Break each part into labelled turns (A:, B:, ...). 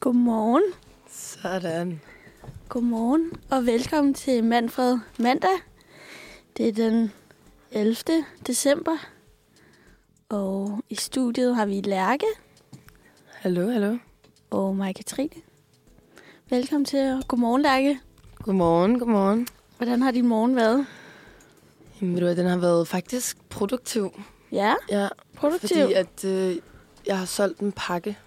A: Godmorgen.
B: Sådan.
A: Godmorgen og velkommen til Manfred Mandag. Det er den 11. december, og i studiet har vi Lærke
B: Hallo, hallo.
A: og mig Katrine. Velkommen til, og godmorgen Lærke.
B: Godmorgen, godmorgen.
A: Hvordan har din morgen været?
B: Jamen, ved du hvad, den har været faktisk produktiv.
A: Ja,
B: Ja,
A: produktiv.
B: fordi at øh, jeg har solgt en pakke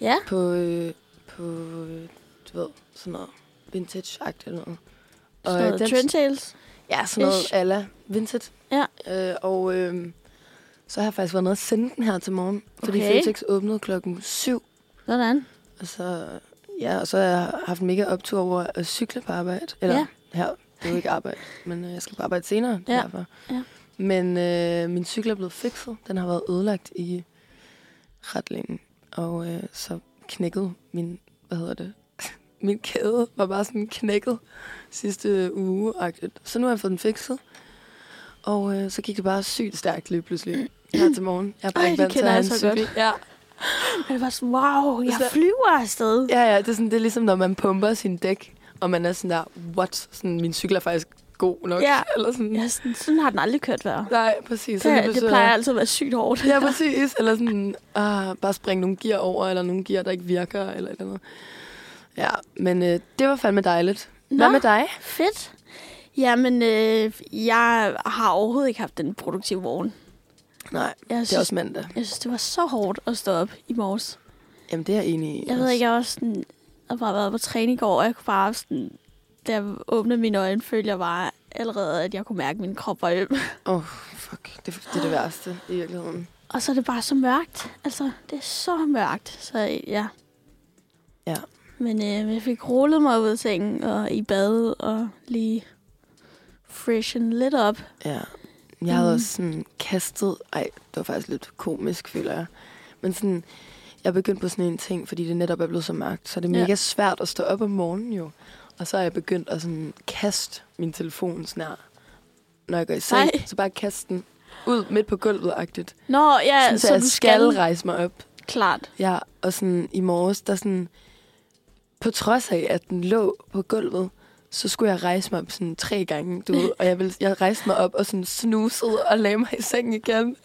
A: Ja,
B: på, øh, på øh, du ved, sådan noget vintage-agtigt eller noget.
A: sådan noget
B: øh, den-
A: Trendtails.
B: Ja, sådan noget
A: ish.
B: ala vintage.
A: Ja.
B: Øh, og øh, så har jeg faktisk været nede og sende den her til morgen, fordi
A: Okay.
B: Føtex åbnede klokken 7.
A: Sådan.
B: Og så, ja, og så har jeg haft en mega optur over at cykle på arbejde. Eller
A: Ja.
B: ja. her. Det er jo ikke arbejde, men øh, jeg skal på arbejde senere.
A: Ja.
B: Derfor.
A: Ja.
B: Men øh, min cykel er blevet fikset. Den har været ødelagt i ret længe. Og øh, så knækkede min, hvad hedder det, min kæde var bare sådan knækket sidste uge. -agtigt. Så nu har jeg fået den fikset. Og øh, så gik det bare sygt stærkt lige pludselig her til morgen. Jeg er bare
A: Ej, det
B: ikke vant til
A: kender
B: at
A: jeg
B: have en
A: så godt.
B: cykel.
A: Ja. Jeg var sådan, wow, jeg
B: Så-
A: flyver afsted.
B: Ja, ja, det er, sådan, det er ligesom, når man pumper sin dæk, og man er sådan der, what? Sådan, min cykel er faktisk god nok.
A: Ja.
B: Eller sådan,
A: Ja, sådan, sådan har den aldrig kørt før.
B: nej, præcis.
A: Det, det,
B: lige pludselig-
A: plejer altid at være sygt hårdt.
B: Ja, præcis. Eller sådan, ah, bare springe nogle gear over, eller nogle gear, der ikke virker, eller et eller andet. Ja, men øh, det var fandme dejligt. Nå. Hvad
A: Nå.
B: med dig?
A: Fedt. Jamen, øh, jeg har overhovedet ikke haft den produktive morgen.
B: Nej,
A: Jeg
B: det er
A: synes,
B: også mandag.
A: jeg synes, det var så hårdt at stå op i morges.
B: Jamen, det er jeg enig i.
A: Jeg ved
B: også.
A: ikke, jeg var sådan, jeg bare været på træning i går, og jeg kunne bare sådan, da jeg åbnede mine øjne, følte jeg bare allerede, at jeg kunne mærke, at min krop var øm.
B: Åh, oh, fuck. Det, det er det værste i virkeligheden.
A: Og så er det bare så mørkt. Altså, det er så mørkt. Så ja.
B: Ja.
A: Men øh, jeg fik rullet mig ud af sengen og i bad og lige freshen lidt op.
B: Ja. Jeg havde
A: Mm.
B: mm. også sådan kastet... Ej, det var faktisk lidt komisk, føler jeg. Men sådan, jeg begyndte på sådan en ting, fordi det netop er blevet så mørkt, så det er
A: Ja.
B: mega svært at stå op om morgenen jo. Og så er jeg begyndt at sådan kaste min telefon snart, når jeg går i seng.
A: Ej.
B: Så bare kaste den ud midt på gulvet-agtigt.
A: Nå, ja,
B: Ja, så, så jeg
A: du
B: skal rejse mig op.
A: Klart.
B: Ja, og sådan i morges, der sådan... På trods af, at den lå på gulvet, så skulle jeg rejse mig op sådan tre gange, du ved. Og jeg, ville, jeg rejste mig op og sådan snusede og lagde mig i sengen igen.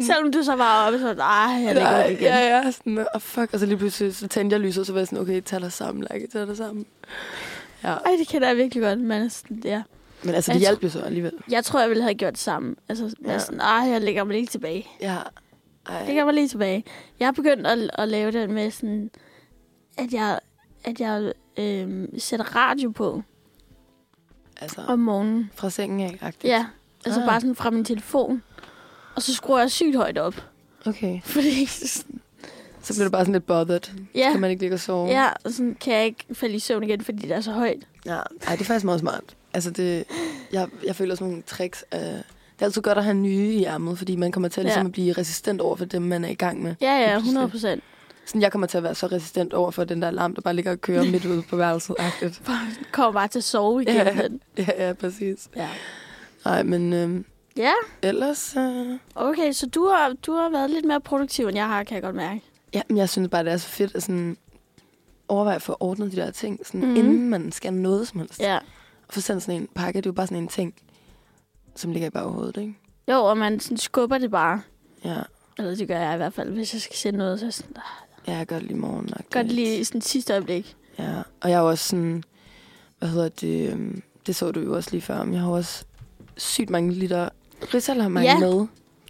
A: Selvom du så var oppe, så var du, "Ej, jeg ligger op igen.
B: ja, ja, sådan, og fuck. Og så lige pludselig, så tændte jeg lyset, og så var jeg sådan, okay, tag dig sammen, Lærke, tag dig sammen. Ja,
A: Ej, det kender jeg virkelig godt. Man er sådan, ja.
B: men altså,
A: Jeg
B: det
A: tror-
B: hjalp jo så alligevel.
A: Jeg tror, jeg ville have gjort det samme. Altså, ja.
B: Ja.
A: sådan, Ej, jeg lægger mig lige tilbage.
B: Ja,
A: Jeg
B: ej,
A: lægger mig lige tilbage. Jeg er begyndt at, at lave den med sådan, at jeg, at jeg øhm, sætter radio på
B: altså,
A: om morgenen.
B: fra sengen af, agtigt.
A: Ja, altså
B: Ah.
A: bare sådan fra min telefon. Og så skruer jeg sygt højt op.
B: Okay,
A: Fordi,
B: så blev det bare sådan lidt bothered.
A: ja,
B: Kan man ikke ligge og sove?
A: ja, og sådan kan jeg ikke falde i søvn igen, fordi det er så højt.
B: Ja, ej, det er faktisk meget smart. Altså, det, jeg, jeg føler sådan nogle tricks. Øh, det er altid godt at have nye i ærmet, fordi man kommer til at,
A: Ja.
B: ligesom, at blive resistent over for dem, man er i gang med.
A: Ja, ja,
B: Lige præcis.
A: 100 procent.
B: Sådan, jeg kommer til at være så resistent over for den der alarm, der bare ligger og kører midt ude på værelset. -agtigt.
A: Kommer bare til at sove igen.
B: Ja.
A: men-
B: Ja, ja, præcis.
A: Ja.
B: Nej, men øh,
A: ja.
B: ellers... Øh,
A: Okay, så du har, du har været lidt mere produktiv, end jeg har, kan jeg godt mærke.
B: ja, men jeg synes bare, det er så fedt at sådan, overveje at få ordnet de der ting, sådan,
A: Mhm.
B: mm. inden man skal noget som helst.
A: Ja.
B: For sådan, sådan en pakke, det er jo bare sådan en ting, som ligger i baghovedet, ikke?
A: Jo, og man sådan skubber det bare.
B: Ja,
A: Eller det gør jeg i hvert fald, hvis jeg skal sende noget, så er jeg sådan, ah,
B: ja jeg gør det lige i morgen nok.
A: godt lige i sådan sidste øjeblik.
B: Ja, og jeg er jo også sådan, hvad hedder det, øhm, det så du jo også lige før, men jeg har jo også sygt mange liter risalamande
A: Ja.
B: ja. med.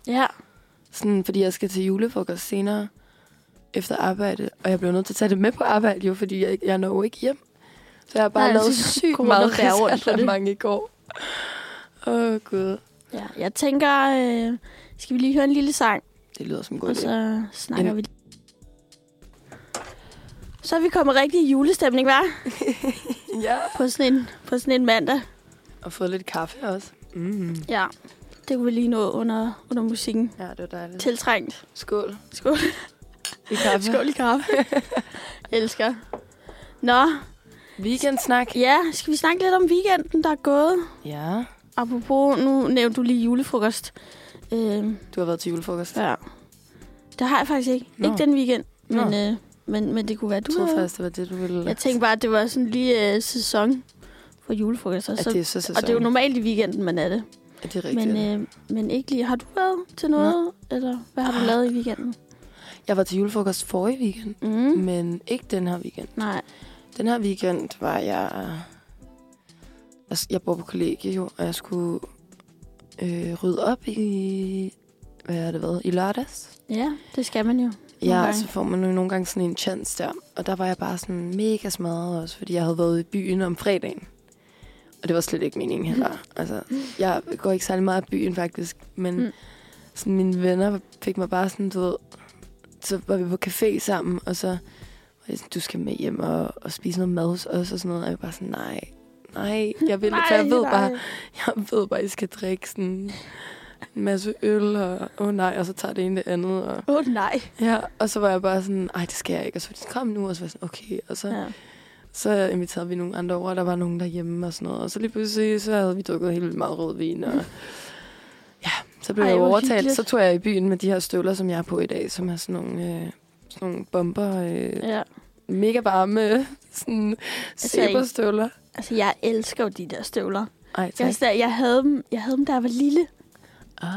A: Ja.
B: Sådan, fordi jeg skal til julefrokost senere efter arbejde, og jeg blev nødt til at tage det med på arbejde jo, fordi jeg, jeg når jo ikke hjem. Så jeg har bare
A: Nej,
B: Nej, lavet
A: så
B: sygt
A: kunne man
B: meget
A: nok bære rundt på det.
B: risalamande i går. Åh, oh, gud.
A: ja. Jeg tænker, øh, skal vi lige høre en lille sang,
B: Det lyder som en god
A: og
B: idé.
A: så snakker
B: Ja.
A: vi. Så er vi kommet rigtig i julestemning, hva'?
B: Ja.
A: På sådan en, på sådan en mandag.
B: Og fået lidt kaffe også. Mm.
A: Ja. Det kunne vi lige nå under, under musikken.
B: Ja, det var dejligt.
A: Tiltrængt.
B: Skål.
A: Skål.
B: I kaffe.
A: Skål i kaffe. Elsker. Nå,
B: Weekendsnak.
A: Ja, skal vi snakke lidt om weekenden, der er gået?
B: Ja.
A: Apropos, nu nævnte du lige julefrokost. Øh,
B: Du har været til julefrokost.
A: ja. Det har jeg faktisk ikke.
B: Nå.
A: Ikke den weekend,
B: Nå.
A: men øh, Men, men det kunne være, du
B: Jeg tror
A: havde-
B: faktisk, det var det, du ville...
A: Jeg tænkte bare, at det var sådan lige øh, sæson for julefrokoster.
B: at
A: Så,
B: det er så
A: og det er jo
B: normalt.
A: normalt i weekenden, man er det.
B: Ja, det er rigtigt.
A: Men, øh, men ikke lige. Har du været til noget? Eller hvad har du lavet i weekenden?
B: Jeg var til julefrokost forrige weekend,
A: Mm.
B: men ikke den her weekend.
A: Nej.
B: Den her weekend var jeg... Altså, jeg bor på kollegie jo, og jeg skulle øh, rydde op i... Hvad har det været? I lørdags?
A: Ja, det skal man jo.
B: Ja, altså,
A: gange.
B: okay. så får man jo nogle gange sådan en chance der. Og der var jeg bare sådan mega smadret også, fordi jeg havde været ude i byen om fredagen. Og det var slet ikke meningen heller. Altså, jeg går ikke særlig meget i byen faktisk, men
A: Mm.
B: mm. sådan, mine venner fik mig bare sådan, du ved, så var vi på café sammen, og så var det sådan, du skal med hjem og, og spise noget mad hos os og sådan noget. Og jeg var bare sådan, nej, nej, jeg vil ikke, for jeg ved bare, jeg ved bare, I skal drikke sådan en masse øl, og åh oh, nej, og så tager det ene det andet, og
A: Åh, oh, nej.
B: Ja, og så var jeg bare sådan, nej, det skal jeg ikke. Og så var de sådan, kom nu, og så var jeg sådan, okay. Og så, ja.
A: Ja.
B: så inviterede vi nogle andre over, og der var nogen derhjemme og sådan noget. Og så lige pludselig, så havde vi drukket helt vildt meget rødvin. Og, ja, så blev
A: Ej,
B: Ej, jeg
A: hvor
B: overtalt.
A: hyggeligt.
B: Så tog jeg i byen med de her støvler, som jeg er på i dag, som er sådan nogle, øh, sådan nogle bomber, øh,
A: ja.
B: mega varme, sådan
A: Altså, ikke-
B: sæberstøvler.
A: Altså, jeg elsker jo de der støvler.
B: Ej, tak.
A: Jeg, jeg, jeg, havde dem, jeg havde dem, da jeg var lille.
B: Ah.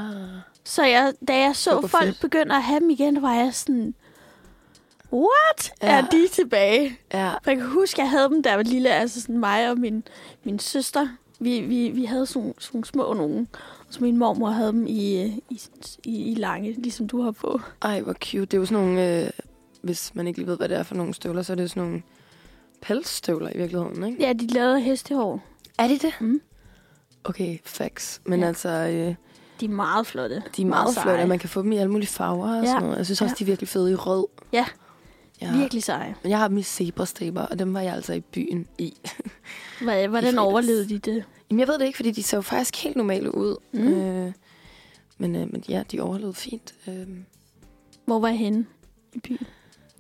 A: Så jeg, da jeg så
B: Super
A: folk
B: fedt.
A: begynde at have dem igen, var jeg sådan... What? Ja. Er
B: Ja.
A: de tilbage?
B: Ja,
A: For jeg kan huske, jeg havde dem, der var lille, altså sådan mig og min, min søster. Vi, vi, vi havde sådan, nogle- sådan nogle små nogen, så min mormor havde dem i, øh, i, i, i lange, ligesom du har på.
B: Ej, hvor cute. Det er jo sådan nogle, øh, hvis man ikke lige ved, hvad det er for nogle støvler, så er det jo sådan nogle pelsstøvler i virkeligheden, ikke?
A: Ja, de lavede af hestehår.
B: Er det det?
A: Mm.
B: Okay, facts. Men
A: Ja.
B: ja. altså, øh,
A: De er meget flotte.
B: de er meget
A: seje.
B: flotte, og man kan få dem i alle mulige farver og
A: Ja.
B: sådan noget. Jeg synes også,
A: Ja.
B: de er virkelig fede i rød.
A: Ja.
B: ja.
A: Virkelig seje.
B: Men Jeg har dem i zebrastriber, og dem var jeg altså i byen i.
A: Hva- Hvordan
B: fredags.
A: overlevede de det?
B: Jamen, jeg ved det ikke, fordi de så jo faktisk helt normale ud.
A: Mm.
B: Øh, men, øh, men ja, de overlevede fint. Øh,
A: Hvor var jeg henne i byen?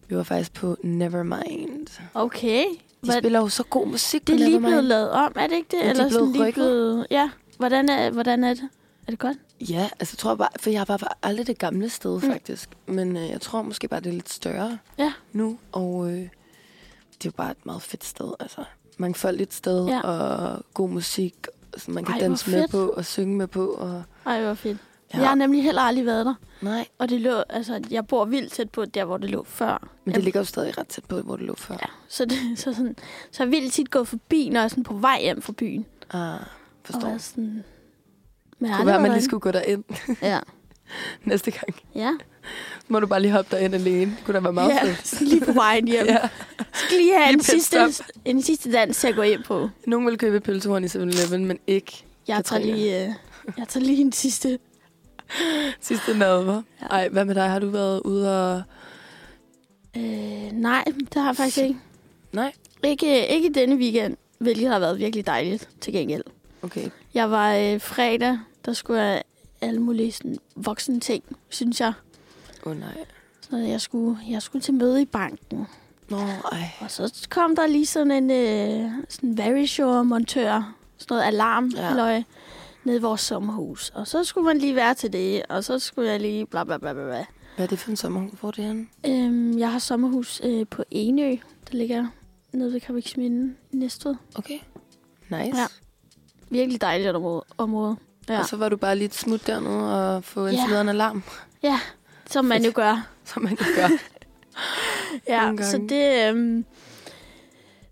B: vi var faktisk på Nevermind. De
A: Okay. Hva-
B: spiller jo så god musik
A: det er
B: på
A: lige blevet
B: Nevermind.
A: lavet om, er det ikke det?
B: Ja, de er blevet
A: sådan lige
B: rykket.
A: blevet- Ja. Hvordan er, hvordan er det? Er det godt?
B: Ja, altså jeg tror bare, for jeg var var aldrig det gamle sted
A: Mm.
B: mm. faktisk. Men øh, jeg tror måske bare, det er lidt større
A: Ja.
B: nu. Og øh, det er jo bare et meget fedt sted, altså. Mangfoldigt sted,
A: Ja.
B: ja. og god musik, som man kan
A: Ej,
B: Ej,
A: hvor
B: danse med
A: fedt.
B: på og synge med på. Og,
A: Ej, hvor fedt. Ja.
B: ja.
A: Jeg har nemlig heller aldrig været der.
B: Nej,
A: Og det lå, altså, jeg bor vildt tæt på der, hvor det lå før.
B: men
A: Jamen.
B: det ligger jo stadig ret tæt på, hvor det lå før. Ja.
A: Så, det, så, sådan, så jeg vildt tit gået forbi, når jeg er sådan på vej hjem fra byen.
B: Ah, forstår.
A: Og er
B: Det
A: sådan... Men jeg har
B: kunne være,
A: aldrig
B: man lige
A: været
B: skulle gå derind
A: derinde. Ja,
B: næste gang.
A: ja.
B: Må du bare lige hoppe derind alene. Det kunne da være meget
A: ja
B: fedt.
A: sådan lige på vejen hjem. ja.
B: Ja.
A: Skal lige have
B: Lige
A: en
B: pit
A: sidste,
B: stop.
A: en sidste dans til at gå hjem på.
B: Nogen vil købe et pølsehorn i 7-Eleven, men ikke
A: Jeg tager,
B: Katrine.
A: lige, øh, jeg tager lige en sidste.
B: sidste nadver.
A: Ja.
B: Ja. Ej, hvad med dig? Har du været ude og...
A: Øh, nej, det har jeg faktisk ikke.
B: Nej.
A: Ikke, ikke denne weekend, hvilket har været virkelig dejligt til gengæld.
B: Okay,
A: Jeg var øh, fredag, der skulle jeg alle mulige sådan, voksne ting, synes jeg.
B: Åh oh, nej.
A: Så jeg skulle, jeg skulle til møde i banken.
B: Nå, ej.
A: Og så kom der lige sådan en øh, sådan Verisure-montør, sådan noget alarm
B: Ja.
A: ja. nede i vores sommerhus. Og så skulle man lige være til det, og så skulle jeg lige bla bla bla bla. bla.
B: Hvad er det for en sommerhus? Hvor er det henne?
A: Øhm, jeg har sommerhus øh, på Enø, der ligger nede ved Kaviksminde i Næstved.
B: Okay. Nice.
A: Ja.
B: Ja.
A: Virkelig dejligt område. område. Ja.
B: Og så var du bare lige et smut dernede og få en
A: Ja.
B: ja. en alarm,
A: Som man jo gør.
B: som man kan gøre.
A: Ja,
B: Nogle
A: så
B: gange.
A: det... Øhm,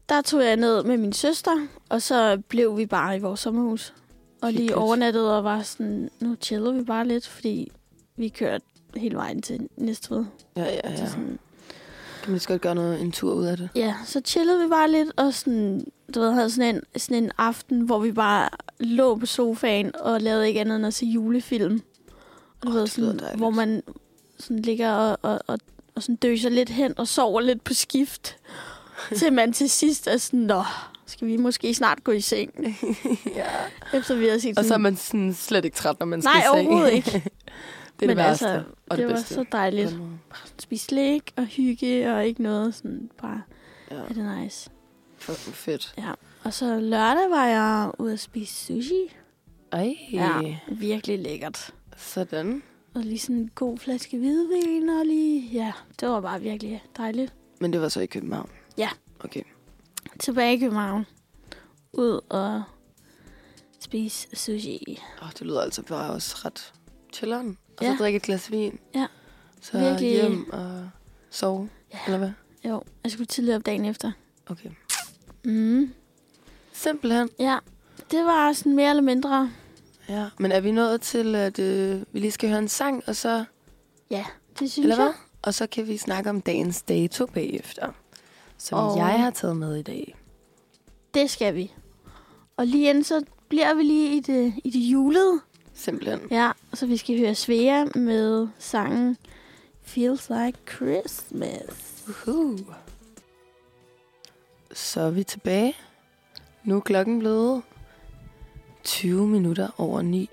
A: der tog jeg ned med min søster, og så blev vi bare i vores sommerhus. Og lige
B: Hyggeligt.
A: overnattede og var sådan, nu chiller vi bare lidt, fordi vi kørte hele vejen til Næstved.
B: ja, ja,
A: Ja.
B: ja.
A: Så, sådan,
B: Kan man lige så godt gøre noget, en tur ud af det.
A: ja, så chillede vi bare lidt, og sådan, du ved, havde sådan en, sådan en aften, hvor vi bare lå på sofaen og lavede ikke andet end at se julefilm. Og du
B: Åh,
A: ved,
B: det lyder
A: sådan,
B: dejligt.
A: hvor man sådan ligger og, og, og, og sådan døser lidt hen og sover lidt på skift. til man til sidst er sådan, nå, skal vi måske snart gå i seng?
B: ja.
A: Efter vi har set
B: Og så er
A: sådan,
B: man sådan slet ikke træt, når man skal
A: nej,
B: i seng.
A: overhovedet ikke. det
B: det er
A: Men
B: det værste.
A: altså, det
B: og det,
A: var
B: bedste.
A: så dejligt. Spise slik og hygge og ikke noget. Sådan bare,
B: Ja,
A: er det nice.
B: f- fedt.
A: Og så lørdag var jeg ude at spise sushi.
B: Ej,
A: Ja, virkelig lækkert.
B: sådan.
A: Og lige sådan en god flaske hvidvin og lige, ja, det var bare virkelig dejligt.
B: Men det var så i København?
A: Ja.
B: Okay.
A: Tilbage i København. Ud og spise sushi.
B: Åh, det lyder altså bare også ret chilleren. Og så
A: Ja.
B: drikke et glas vin.
A: Ja.
B: Så
A: Virkelig.
B: hjem og sove,
A: Ja.
B: eller hvad?
A: Jo, jeg skulle tidligere op dagen efter.
B: Okay.
A: Mm.
B: Simpelthen.
A: Ja, det var sådan mere eller mindre.
B: Ja. Men er vi nået til, at øh, vi lige skal høre en sang, og så,
A: Ja, det synes
B: eller hvad?
A: jeg.
B: Og så kan vi snakke om dagens dato bagefter, som
A: Og-
B: jeg har taget med i dag.
A: Det skal vi. Og lige inden så bliver vi lige i det, i det julede.
B: Simpelthen.
A: Ja, så vi skal høre Svea med sangen Feels Like Christmas.
B: Uhu. Så er vi tilbage. Nu er klokken blevet 20 minutter over 9.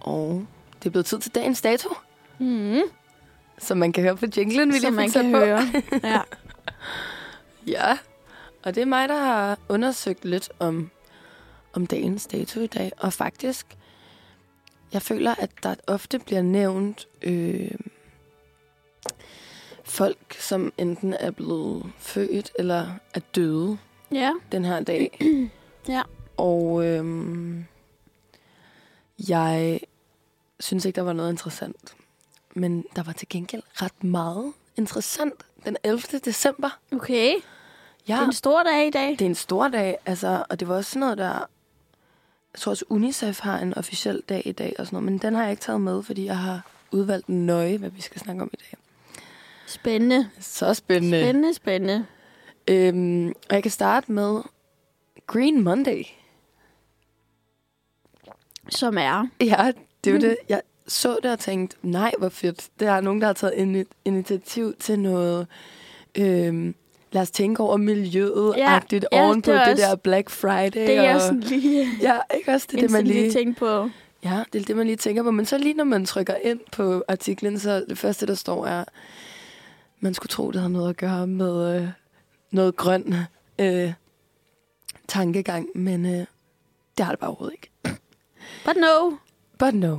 B: Og det er blevet tid til dagens dato,
A: Mm.
B: som man kan høre på jinglen, vi
A: Som
B: lige
A: man
B: fik sat
A: kan
B: på.
A: høre. Ja.
B: Ja, og det er mig, der har undersøgt lidt om, om dagens dato i dag. Og faktisk, jeg føler, at der ofte bliver nævnt øh, folk, som enten er blevet født eller er døde
A: ja.
B: den her dag.
A: Ja.
B: Og øhm, jeg synes ikke, der var noget interessant. Men der var til gengæld ret meget interessant den 11. december.
A: Okay.
B: Ja.
A: Det er en stor dag i dag.
B: Det er en stor dag, altså, og det var også sådan noget, der... Jeg tror også, UNICEF har en officiel dag i dag og sådan noget, men den har jeg ikke taget med, fordi jeg har udvalgt nøje, hvad vi skal snakke om i dag.
A: Spændende.
B: Så spændende.
A: Spændende, spændende.
B: Øhm, og jeg kan starte med Green Monday.
A: Som er.
B: Ja, det
A: Mm.
B: er jo det. Jeg så det og tænkte, nej, hvor fedt. Der er nogen, der har taget ini- initiativ til noget... Øhm, lad os tænke over miljøet
A: Ja,
B: agtigt
A: ja,
B: oven på
A: det
B: det,
A: er også-
B: der Black Friday.
A: Det er
B: og,
A: jeg sådan lige
B: Ja, ikke også? Det er det, man lige...
A: tænke på.
B: Ja, det er det, man lige tænker på. Men så lige når man trykker ind på artiklen, så det første, der står, er, man skulle tro, det havde noget at gøre med øh, noget grøn øh, tankegang, men øh, det har det bare overhovedet ikke.
A: But no.
B: But no.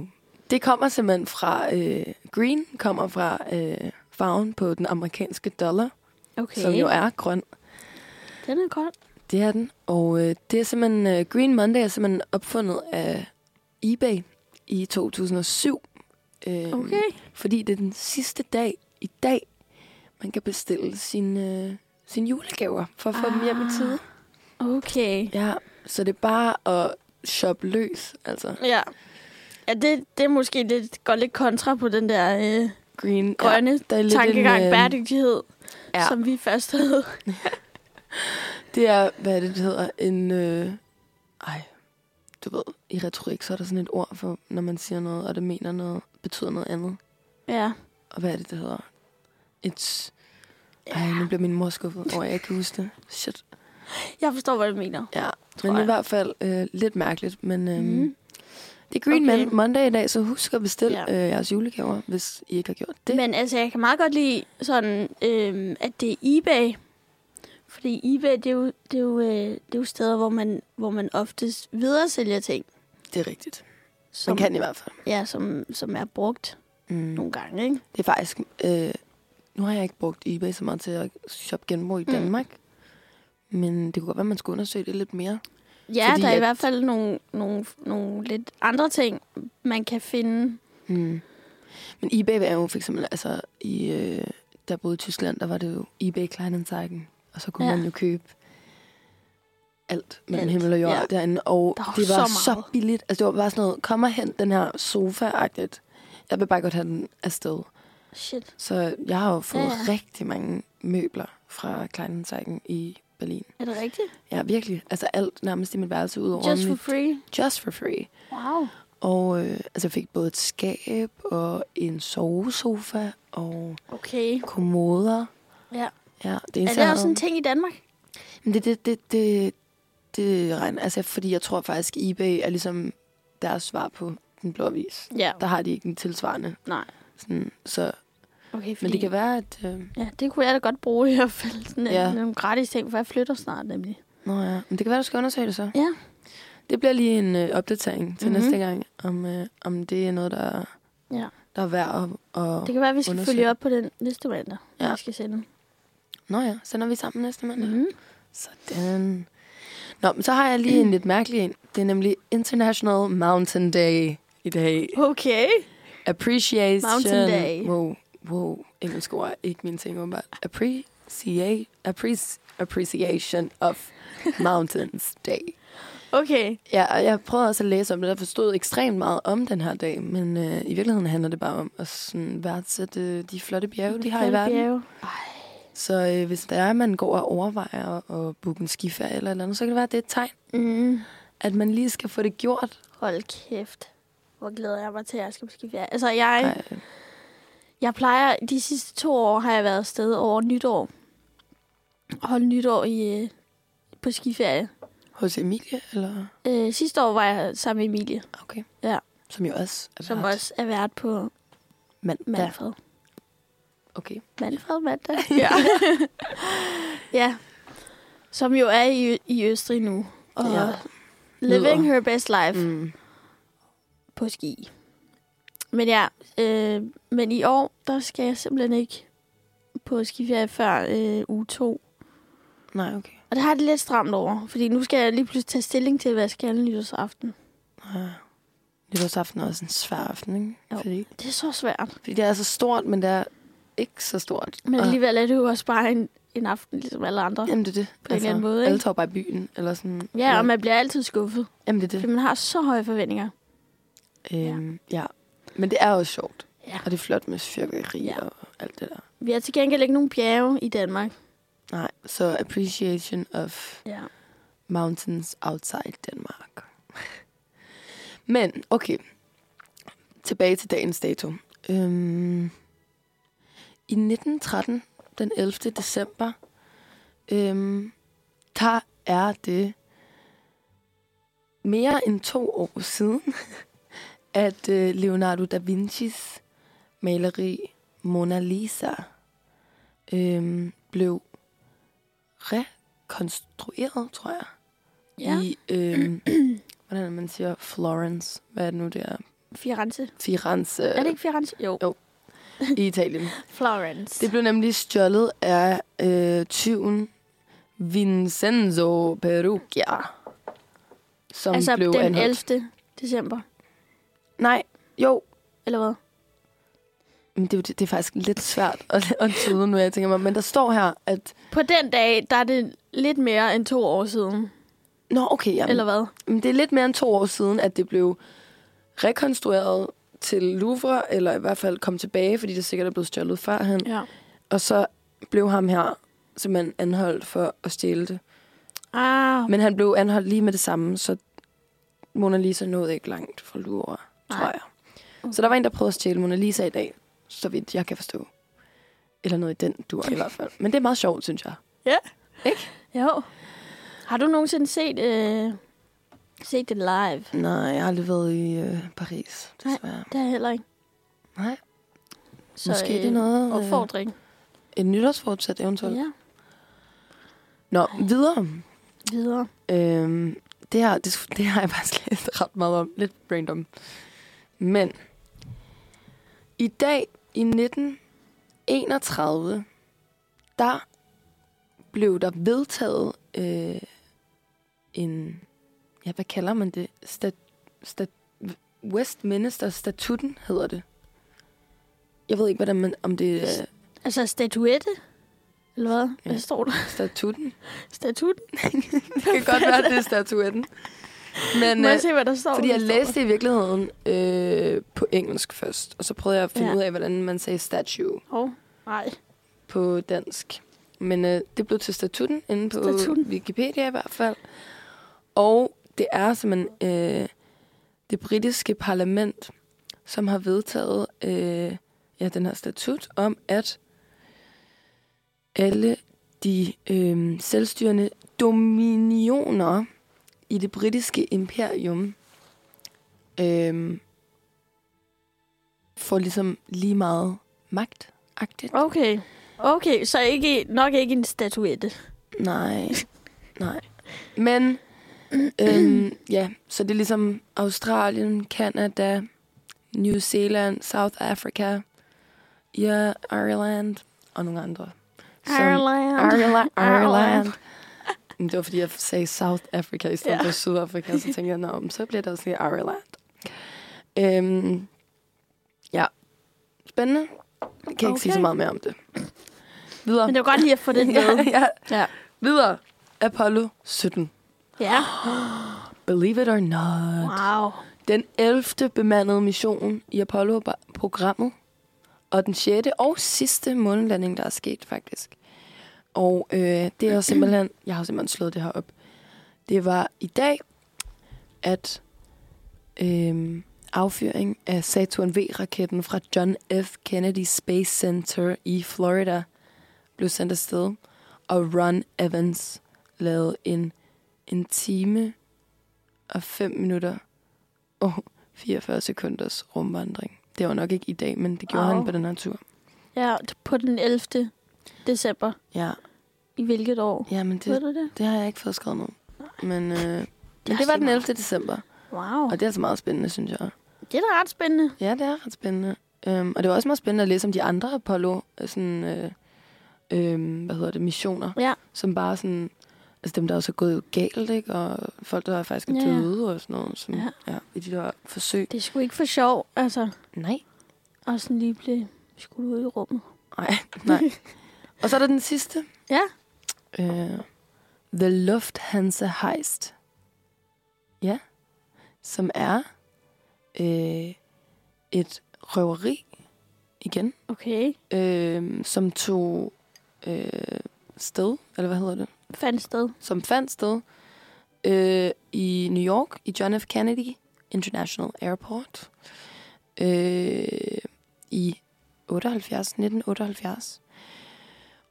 B: Det kommer simpelthen fra, øh, green kommer fra øh, farven på den amerikanske dollar,
A: Okay.
B: okay. som jo er grøn.
A: Den er kold.
B: Det er den. Og øh, det er simpelthen, øh, Green Monday er simpelthen opfundet af eBay i 2007. Øh,
A: Okay.
B: Fordi det er den sidste dag i dag, man kan bestille sine, øh, sine julegaver for at få ah. dem hjem i
A: Ah.
B: tide.
A: Okay.
B: Ja, så det er bare at shoppe løs, altså
A: Ja. Ja, det, det er måske lidt, går lidt kontra på den der øh,
B: green.
A: grønne
B: ja, der er
A: ja,
B: lidt
A: tankegang,
B: en,
A: en,
B: øh,
A: bæredygtighed,
B: ja.
A: ja. som vi først havde.
B: Det er, hvad er det, det hedder, en... Øh, ej, du ved, i retorik, så er der sådan et ord for, når man siger noget, og det mener noget, betyder noget andet.
A: Ja.
B: Og hvad er det, det hedder? Et... Ej, nu bliver min mor skuffet over, at jeg ikke kan huske det. Shit.
A: Jeg forstår, hvad du mener.
B: Ja,
A: Tror
B: men i
A: jeg.
B: hvert fald øh, lidt mærkeligt. Men øh, mm.
A: Mm.
B: det er Green okay.
A: Okay.
B: Man Monday i dag, så husk at bestille
A: Ja.
B: ja. øh, jeres julegaver, hvis I ikke har gjort det.
A: Det. Men altså, jeg kan meget godt lide sådan, øhm, at det er eBay. Fordi eBay, det er jo, det er jo, øh, det er jo steder, hvor man, hvor man oftest videre sælger ting.
B: det er rigtigt.
A: Som,
B: Man kan i hvert fald.
A: Ja, som, som er brugt
B: Mm.
A: nogle gange, ikke?
B: Det er faktisk... Øh, nu har jeg ikke brugt eBay så meget til at shoppe genbrug i
A: Mm.
B: Danmark. Men det kunne godt være, man skulle undersøge det lidt mere.
A: Ja,
B: Fordi
A: Fordi der er i
B: at-
A: hvert fald nogle, nogle, nogle lidt andre ting, man kan finde.
B: Mm. Men eBay er jo for eksempel, altså i, øh, der boede i Tyskland, der var det jo eBay Kleinanzeigen, og så kunne ja.
A: Ja.
B: man jo købe alt mellem
A: Alt,
B: himmel og jord ja.
A: ja.
B: derinde, og
A: Der var
B: det
A: så
B: var så,
A: meget.
B: så billigt. Altså det var bare sådan noget, kom og hent den her sofa-agtigt. Jeg vil bare godt have den afsted.
A: Shit,
B: Så jeg har jo fået ja.
A: Ja.
B: rigtig mange møbler fra Kleinanzeigen i Berlin.
A: er det rigtigt?
B: Ja, virkelig. Altså alt nærmest i mit værelse ud over
A: Just for
B: mit-
A: free?
B: Just for free.
A: Wow.
B: Og øh, altså jeg fik både et skab og en sovesofa og
A: Okay.
B: kommoder.
A: Ja.
B: Ja, det
A: Er
B: eneste,
A: det
B: jeg
A: også
B: havde-
A: en ting i Danmark?
B: Men det, det, det, det, det regner. Altså, fordi jeg tror faktisk, eBay er ligesom deres svar på den blå avis.
A: Ja.
B: Der har de ikke en tilsvarende.
A: Nej.
B: Sådan, så,
A: Okay,
B: men det kan være, at... Øh,
A: Ja, det kunne jeg da godt bruge i hvert fald. Sådan
B: Ja.
A: ja. nogle gratis ting, for jeg flytter snart nemlig.
B: nå ja, men det kan være, du skal undersøge det så.
A: Ja.
B: Det bliver lige en øh, opdatering til mm-hmm.
A: Mhm.
B: næste gang, om, øh, om det er noget, der,
A: Ja.
B: der er værd at... at
A: Det kan være, at vi skal
B: Undersøg.
A: følge op på den næste mandag,
B: Ja.
A: ja. vi skal sende.
B: Nå ja, så når vi er sammen næste mandag.
A: Mm.
B: Sådan. Nå, men så har jeg lige en lidt mærkelig en. Det er nemlig International Mountain Day i dag.
A: Okay.
B: Appreciation.
A: Mountain Day.
B: Wow, wow. Engelsk ord er ikke min ting, åbenbart. Appreciate, appreci- appreciation of Mountains Day.
A: Okay.
B: Ja, og jeg prøvede også at læse om det, og jeg forstod ekstremt meget om den her dag, men øh, i virkeligheden handler det bare om at sådan værdsætte øh, de flotte bjerge, de har i verden. Så øh, hvis der er, at man går og overvejer at- at booke en skiferie eller et eller andet, så kan det være, at det er et tegn,
A: Mm.
B: at man lige skal få det gjort.
A: Hold kæft. Hvor glæder jeg mig til, at jeg skal på skiferie. Altså, jeg,
B: Ej,
A: jeg plejer... De sidste to år har jeg været afsted over nytår. Holdt nytår i, øh, på skiferie.
B: hos Emilie, eller?
A: Øh, sidste år var jeg sammen med Emilie,
B: Okay.
A: Ja.
B: Som jo også er
A: som
B: vært
A: også er vært på
B: mandag.
A: Manfred.
B: Okay.
A: Manfred mandag. ja. ja. Som jo er i, i Østrig nu. Og
B: Ja.
A: ja. living
B: Nyder.
A: her best life mm.
B: Mm.
A: på ski. Men ja, øh, men i år, der skal jeg simpelthen ikke på skiferie før øh, uge 2.
B: Nej, okay.
A: Og det har jeg det lidt stramt over, fordi nu skal jeg lige pludselig tage stilling til, hvad jeg skal nytårsaften.
B: Ja. Nytårsaften er også en svær aften, ikke?
A: Jo.
B: Fordi,
A: Det er så svært.
B: fordi det er så stort, men det er ikke så stort.
A: Men
B: Og-
A: alligevel er det jo også bare en, en aften, ligesom alle andre.
B: Jamen, det er det.
A: På en eller anden måde, ikke?
B: Alle tager bare i byen, eller sådan.
A: Ja, og man bliver altid skuffet,
B: Jamen, det er
A: fordi
B: det.
A: man har så høje forventninger.
B: Øhm, ja. Men det er jo sjovt.
A: Ja.
B: Og det er flot med fyrværkeri
A: Ja.
B: ja. og alt det der.
A: Vi har til gengæld ikke nogen bjerge i Danmark.
B: Nej, så appreciation of
A: Ja.
B: mountains outside Denmark. Men, okay. Tilbage til dagens dato. Øhm, I 1913, den 11. december, øhm, der er det mere end to år siden, at øh, Leonardo da Vincis maleri Mona Lisa øhm, blev rekonstrueret, tror jeg ja. i, øhm, hvordan er det, man siger, Florence, hvad er det nu, det er?
A: Firenze.
B: Firenze
A: Er det ikke Firenze? Jo.
B: Jo. i Italien.
A: Florence.
B: Det blev nemlig stjålet af øh, tyven Vincenzo Perugia, som
A: altså
B: blev
A: den
B: anholdt.
A: 11. december.
B: Nej, jo.
A: Eller hvad?
B: Men det, er jo det, det er faktisk lidt svært at, at tyde nu, jeg tænker mig. Men der står her, at...
A: På den dag, der er det lidt mere end to år siden.
B: Nå, okay, jamen,
A: Eller hvad?
B: Men det er lidt mere end to år siden, at det blev rekonstrueret til Louvre, eller i hvert fald kom tilbage, fordi det sikkert er blevet stjålet førhen.
A: Ja.
B: Og så blev ham her simpelthen anholdt for at stjæle det.
A: Ah,
B: Men han blev anholdt lige med det samme, så Mona Lisa nåede ikke langt fra Louvre, tror
A: Nej.
B: jeg. Så der var en, der prøvede at stjæle Mona Lisa i dag, så vidt jeg kan forstå. Eller noget i den dur i hvert fald. Men det er meget sjovt, synes jeg.
A: jo. Har du nogensinde set, øh, set det live?
B: Nej, jeg har aldrig været i øh, Paris,
A: Nej.
B: desværre.
A: Det har jeg heller ikke.
B: Nej. Nej.
A: Så,
B: Måske det er
A: øh,
B: noget... øh,
A: Opfordring.
B: Et nytårsfortsæt eventuelt. Ja.
A: Ja.
B: Nå, videre.
A: Videre.
B: Øhm, det, her, det, det har jeg faktisk læst ret meget om. Lidt random. Men i dag i 1931, der blev der vedtaget øh, en, ja, hvad kalder man det? Stat, stat, Westminster-statuten hedder det. Jeg ved ikke, hvordan man, om det er
A: Altså statuette? Eller hvad? Hvad
B: Ja.
A: står der?
B: statuten.
A: Statut?
B: Det kan godt være, det er statuetten. Men,
A: Må
B: øh,
A: jeg se, hvad der står?
B: Fordi jeg
A: Hvad står
B: læste det i virkeligheden øh, på engelsk først, og så prøvede jeg at finde
A: Ja.
B: ja. ud af, hvordan man sagde statue
A: der? Hov. Nej.
B: på dansk. Men øh, det blev til statuten inde på
A: Statuten.
B: statuten. Wikipedia i hvert fald. Og det er simpelthen øh, det britiske parlament, som har vedtaget øh, ja, den her statut om, at alle de øh, selvstyrende dominioner i det britiske imperium øh, får ligesom lige meget magtagtigt.
A: Okay. Okay, så ikke, nok ikke en statuette.
B: Nej, nej. Men, øhm, ja, så det er ligesom Australien, Kanada, New Zealand, South Africa, ja, Ireland og nogle andre. som Ireland.
A: Ireland.
B: Ireland. Men det var, fordi jeg sagde South Africa i stedet
A: Ja.
B: for Sydafrika, så tænkte jeg, Nå, men så bliver det også lige Ireland. Øhm, ja. Spændende. Jeg kan okay. ikke sige så
A: Okay.
B: meget mere om det. Videre.
A: Men det var godt lige at få det med.
B: ja, ja.
A: ja.
B: Videre. Apollo 17.
A: ja.
B: Believe it or not.
A: Wow.
B: Den 11. bemandede mission i Apollo-programmet, og den 6. og sidste månelanding, der er sket faktisk. Og øh, det er simpelthen, jeg har simpelthen slået det her op. Det var i dag, at øh, affyring af Saturn V-raketten fra John F. Kennedy Space Center i Florida blev sendt afsted, og Ron Evans lavede en, en time og 5 minutter og 44 sekunders rumvandring. Det var nok ikke i dag, men det gjorde
A: Wow.
B: han på den her tur.
A: Ja, på den 11. december.
B: Ja,
A: I hvilket år?
B: ja men
A: Ved
B: det,
A: du det?
B: det har jeg ikke fået skrevet ned. Men, øh, men
A: også
B: det var
A: lige
B: den
A: meget.
B: 11. december,
A: Wow.
B: og det er altså meget spændende, synes jeg.
A: Det er da ret spændende.
B: Ja, det er ret spændende. Øhm, og det var også meget spændende at læse om de andre Apollo, øh, sådan, øh, øh, hvad hedder det, missioner,
A: Ja.
B: som bare sådan, altså dem, der også er gået galt, ikke? og folk, der faktisk er
A: Ja, ja.
B: døde og sådan noget, som, ja.
A: Ja.
B: Ja, i de der forsøg.
A: Det er sgu ikke for sjov, altså.
B: Nej.
A: Og sådan lige blive skudt ud i rummet.
B: Nej, nej. og så er der den sidste.
A: Ja.
B: Øh, The Lufthansa Heist. Ja. Som er øh, et røveri igen,
A: Okay.
B: øh, som tog øh, sted, eller hvad hedder det?
A: Fandt sted.
B: Som fandt sted øh, i New York, i John F. Kennedy International Airport øh, i 78, 1978.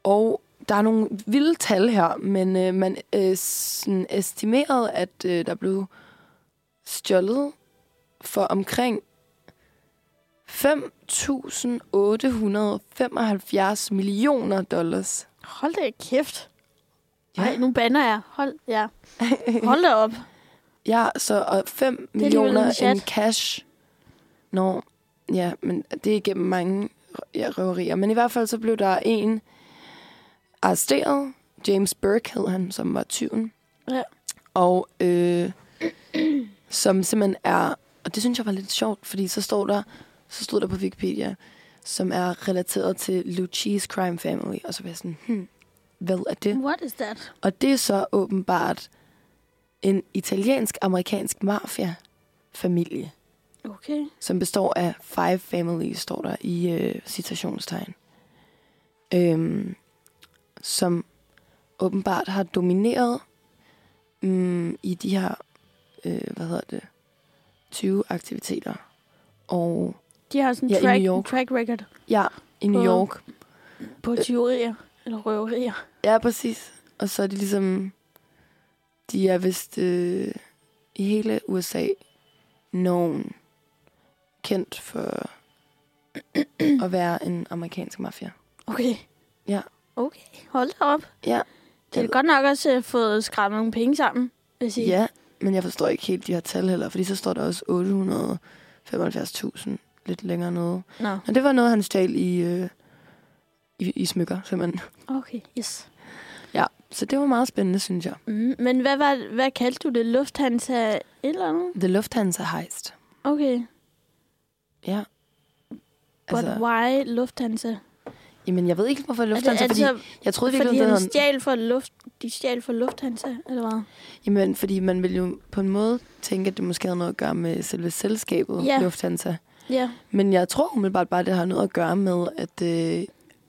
B: Og der er nogle vilde tal her, men øh, man øh, sådan estimerede, at øh, der blev stjålet for omkring 5.875 millioner dollars.
A: Hold da kæft.
B: Ja.
A: Ja. Ej, nu banner jeg. Hold, ja. Hold da op.
B: Ja, så og 5
A: alligevel
B: millioner
A: en chat.
B: in cash. Nå, ja, men det er igennem mange ja, røverier. Men i hvert fald så blev der en arresteret. James Burke hed han, som var tyven.
A: Ja.
B: Og øh, som simpelthen er... Og det synes jeg var lidt sjovt, fordi så står der, så stod der på Wikipedia, som er relateret til Lucci's crime family. Og så var jeg sådan, hmm, hvad er det?
A: What is that?
B: Og det er så åbenbart en italiensk-amerikansk mafia-familie,
A: Okay.
B: som består af five families, står der i øh, citationstegn. Øhm, som åbenbart har domineret mm, i de her, øh, hvad hedder det, 20 aktiviteter. Og
A: De har sådan en
B: Ja, i
A: track,
B: New York.
A: track record
B: ja, i New
A: Både-
B: York.
A: på
B: Øh.
A: tyverier. Eller røverier.
B: Ja, præcis. Og så er de ligesom... De er vist øh, i hele USA nogen kendt for at være en amerikansk mafia.
A: Okay.
B: Ja.
A: Okay. Hold da op.
B: Ja.
A: Det er godt nok også øh, fået skræmmet nogle penge sammen, vil jeg sige.
B: Ja, men jeg forstår ikke helt de her tal heller, fordi så står der også 875.000 lidt længere nede.
A: Nå,
B: Og det var noget, han stjal i, øh, i, i smykker, simpelthen.
A: okay. Yes.
B: Ja, så det var meget spændende, synes jeg.
A: Mm, men hvad, var, hvad kaldte du det? Lufthansa et eller andet?
B: The Lufthansa heist.
A: Okay.
B: Ja.
A: But altså, why Lufthansa?
B: Jamen, jeg ved ikke, hvorfor Lufthansa...
A: er det,
B: fordi,
A: er det så,
B: jeg troede
A: fordi,
B: virkelig,
A: fordi han
B: det havde...
A: stjal for luft, de stjal for Lufthansa, eller hvad?
B: Jamen, fordi man ville jo på en måde tænke, at det måske havde noget at gøre med selve selskabet,
A: Ja.
B: Lufthansa.
A: Ja.
B: Men jeg tror umiddelbart bare, at det har noget at gøre med, at, øh,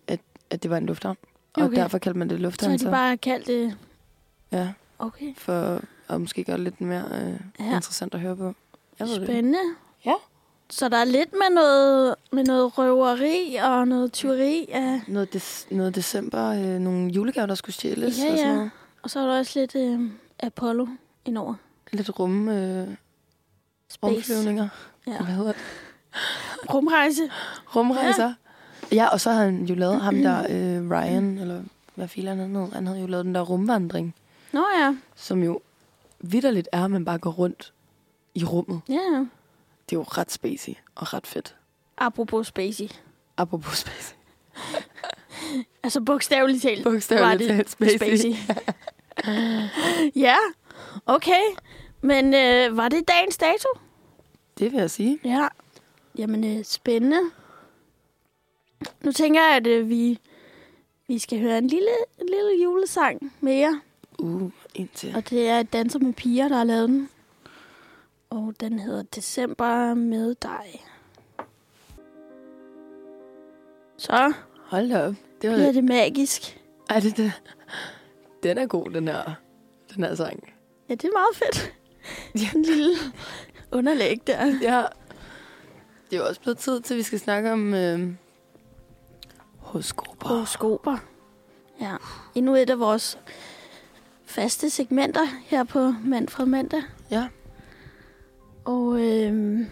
B: at, at det var en lufthavn. Og
A: Okay.
B: derfor kaldte man det
A: Så har
B: Lufthansa.
A: de bare kaldt det...
B: Ja,
A: Okay.
B: for at måske gøre det lidt mere øh, ja.
A: Ja.
B: interessant at høre på. Jeg ved det. ikke.
A: Spændende.
B: Ja.
A: Så der er lidt med noget, med noget røveri og noget tyveri, af,
B: Noget, des, noget december, øh, nogle julegaver, der skulle stjæles
A: Ja,
B: og sådan
A: ja.
B: noget.
A: og så er der også lidt øh, Apollo indover.
B: Lidt rum, øh,
A: Space.
B: rumflyvninger.
A: Ja.
B: Hvad hedder det?
A: Rumrejse.
B: Rumrejser. Ja. ja, og så har han jo lavet ham der, øh, Ryan, eller hvad filer han hed, han havde jo lavet den der rumvandring,
A: Nå ja.
B: som jo vidderligt er, at man bare går rundt i rummet.
A: Ja, ja.
B: Det er jo ret spacey og ret fedt.
A: Apropos Spacey.
B: Apropos spacey.
A: Altså bogstaveligt talt. var
B: Bogstaveligt
A: det
B: talt spacey.
A: ja, okay. Men øh, var det dagens dato?
B: Det vil jeg sige.
A: Ja. Jamen, øh, spændende. Nu tænker jeg, at øh, vi, vi skal høre en lille, en lille julesang mere.
B: Uh, indtil.
A: Og det er Danser med piger, der har lavet den. Og den hedder December med dig. Så
B: Hold da op. Det var
A: bliver
B: det.
A: det magisk.
B: Ej, det, det. Den er god, den her, den her sang.
A: Ja, det er meget fedt.
B: Ja.
A: En lille underlæg der.
B: Ja. Det er jo også blevet tid til, at vi skal snakke om øh, horoskoper.
A: Horoskoper. Ja, endnu et af vores faste segmenter her på Manfred Mandag.
B: Ja.
A: Og øhm,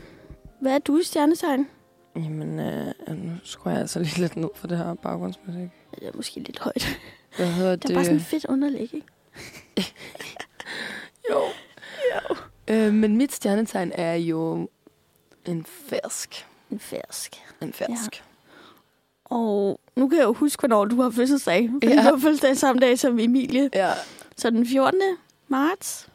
A: hvad er du i stjernetegn?
B: Jamen, øh, nu skruer jeg altså lige lidt ned for det her baggrundsmusik.
A: Det er måske lidt højt.
B: Hvad hedder det?
A: Der er bare sådan en fedt underlæg, ikke?
B: Jo. jo. Øh, men mit stjernetegn er jo en fersk.
A: En fersk.
B: En fersk. Ja.
A: Og nu kan jeg jo huske, hvornår du har fødselsdag. For
B: Ja.
A: ja. du har fødselsdag samme dag som Emilie.
B: Ja,
A: Så den 14. marts.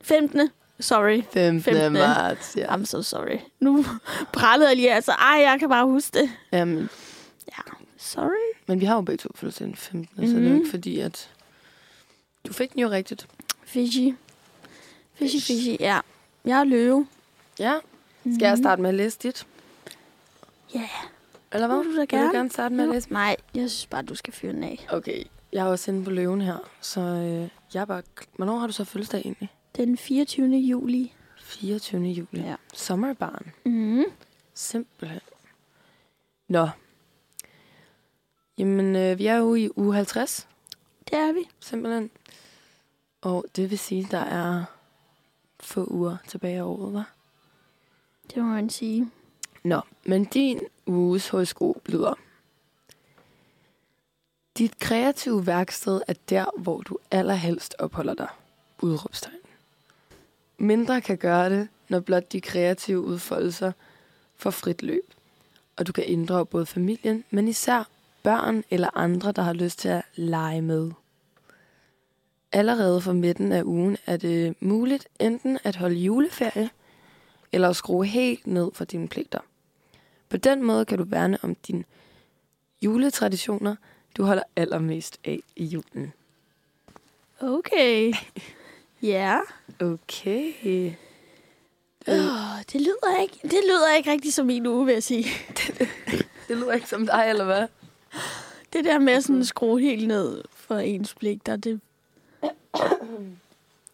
A: 15. Sorry.
B: 15.
A: 15.
B: marts. Ja.
A: I'm so sorry. Nu prallede jeg lige, altså. Ej, jeg kan bare huske det.
B: Jamen,
A: Sorry.
B: men vi har jo begge to fødselsdag den 15. Mm-hmm. Så det er jo
A: Mhm.
B: ikke fordi, at... Du fik den jo rigtigt.
A: Fishy. Fishy, fishy, ja. Jeg er løve.
B: Ja. Skal jeg starte med at læse dit?
A: Mhm. Ja.
B: Eller hvad?
A: Det må du da
B: Vil
A: gerne.
B: du gerne starte med at læse
A: Nej, jeg synes bare, du skal fyre den af.
B: Okay, jeg er også inde på løven her, så øh, jeg er bare... Hvornår har du så fødselsdag egentlig?
A: Den 24. juli.
B: 24. juli.
A: Ja.
B: Sommerbarn.
A: Mm.
B: Simpelthen. Nå. Jamen, øh, vi er jo i uge 50,
A: Det er vi.
B: simpelthen. Og det vil sige, der er få uger tilbage af året, var.
A: Det må man sige.
B: Nå, men din uges horoskop lyder. Dit kreative værksted er der, hvor du allerhelst opholder dig. Udråbstegn. Mindre kan gøre det, når blot de kreative udfoldelser får frit løb. Og du kan inddrage både familien, men især børn eller andre, der har lyst til at lege med. Allerede fra midten af ugen er det muligt enten at holde juleferie, eller at skrue helt ned for dine pligter. På den måde kan du værne om dine juletraditioner, du holder allermest af i julen.
A: Okay. Ja.
B: Okay.
A: Oh, det lyder ikke, det lyder ikke rigtigt som min uge, vil jeg sige.
B: Det lyder ikke som dig, eller hvad?
A: Det der med sådan at skrue helt ned for ens pligter, det...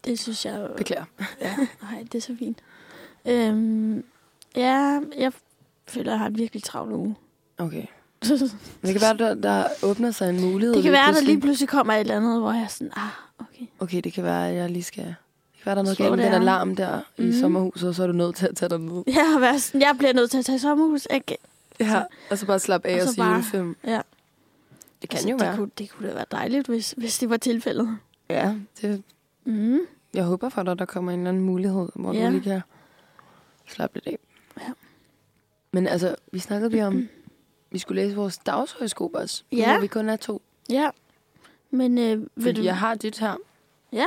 A: Det synes jeg...
B: Beklager.
A: Ja, nej, det er så fint. Øhm, ja, jeg føler, jeg har en virkelig travl uge.
B: Okay. Men det kan være, der, der åbner sig en mulighed.
A: det kan være, at der
B: pludselig.
A: lige pludselig kommer et eller andet, hvor jeg er sådan, ah, okay.
B: Okay, det kan være, at jeg lige skal... Det kan være, der er noget
A: Slå
B: galt med
A: det
B: den
A: an.
B: alarm der mm. i
A: Mhm.
B: sommerhuset, og så er du nødt til at tage dig ned.
A: Jeg, har været sådan, jeg bliver nødt til at tage sommerhus. Jeg, kan-
B: Ja, og så bare slappe af
A: Og
B: og, og
A: så
B: se
A: bare-
B: julefilm.
A: ja.
B: Det kan jo
A: altså, det
B: være.
A: Kunne, det kunne da være dejligt, hvis, hvis det var tilfældet.
B: Ja, det,
A: Mm.
B: Jeg håber for dig, der kommer en eller anden mulighed, hvor ja.
A: Ja.
B: du lige kan slappe lidt af.
A: Ja.
B: Men altså, vi snakkede lige om, vi skulle læse vores dagshøjskob også. nu
A: Ja.
B: hvor vi kun er to.
A: Ja. Men øh, vil
B: Fordi
A: du...
B: jeg har dit her.
A: Ja,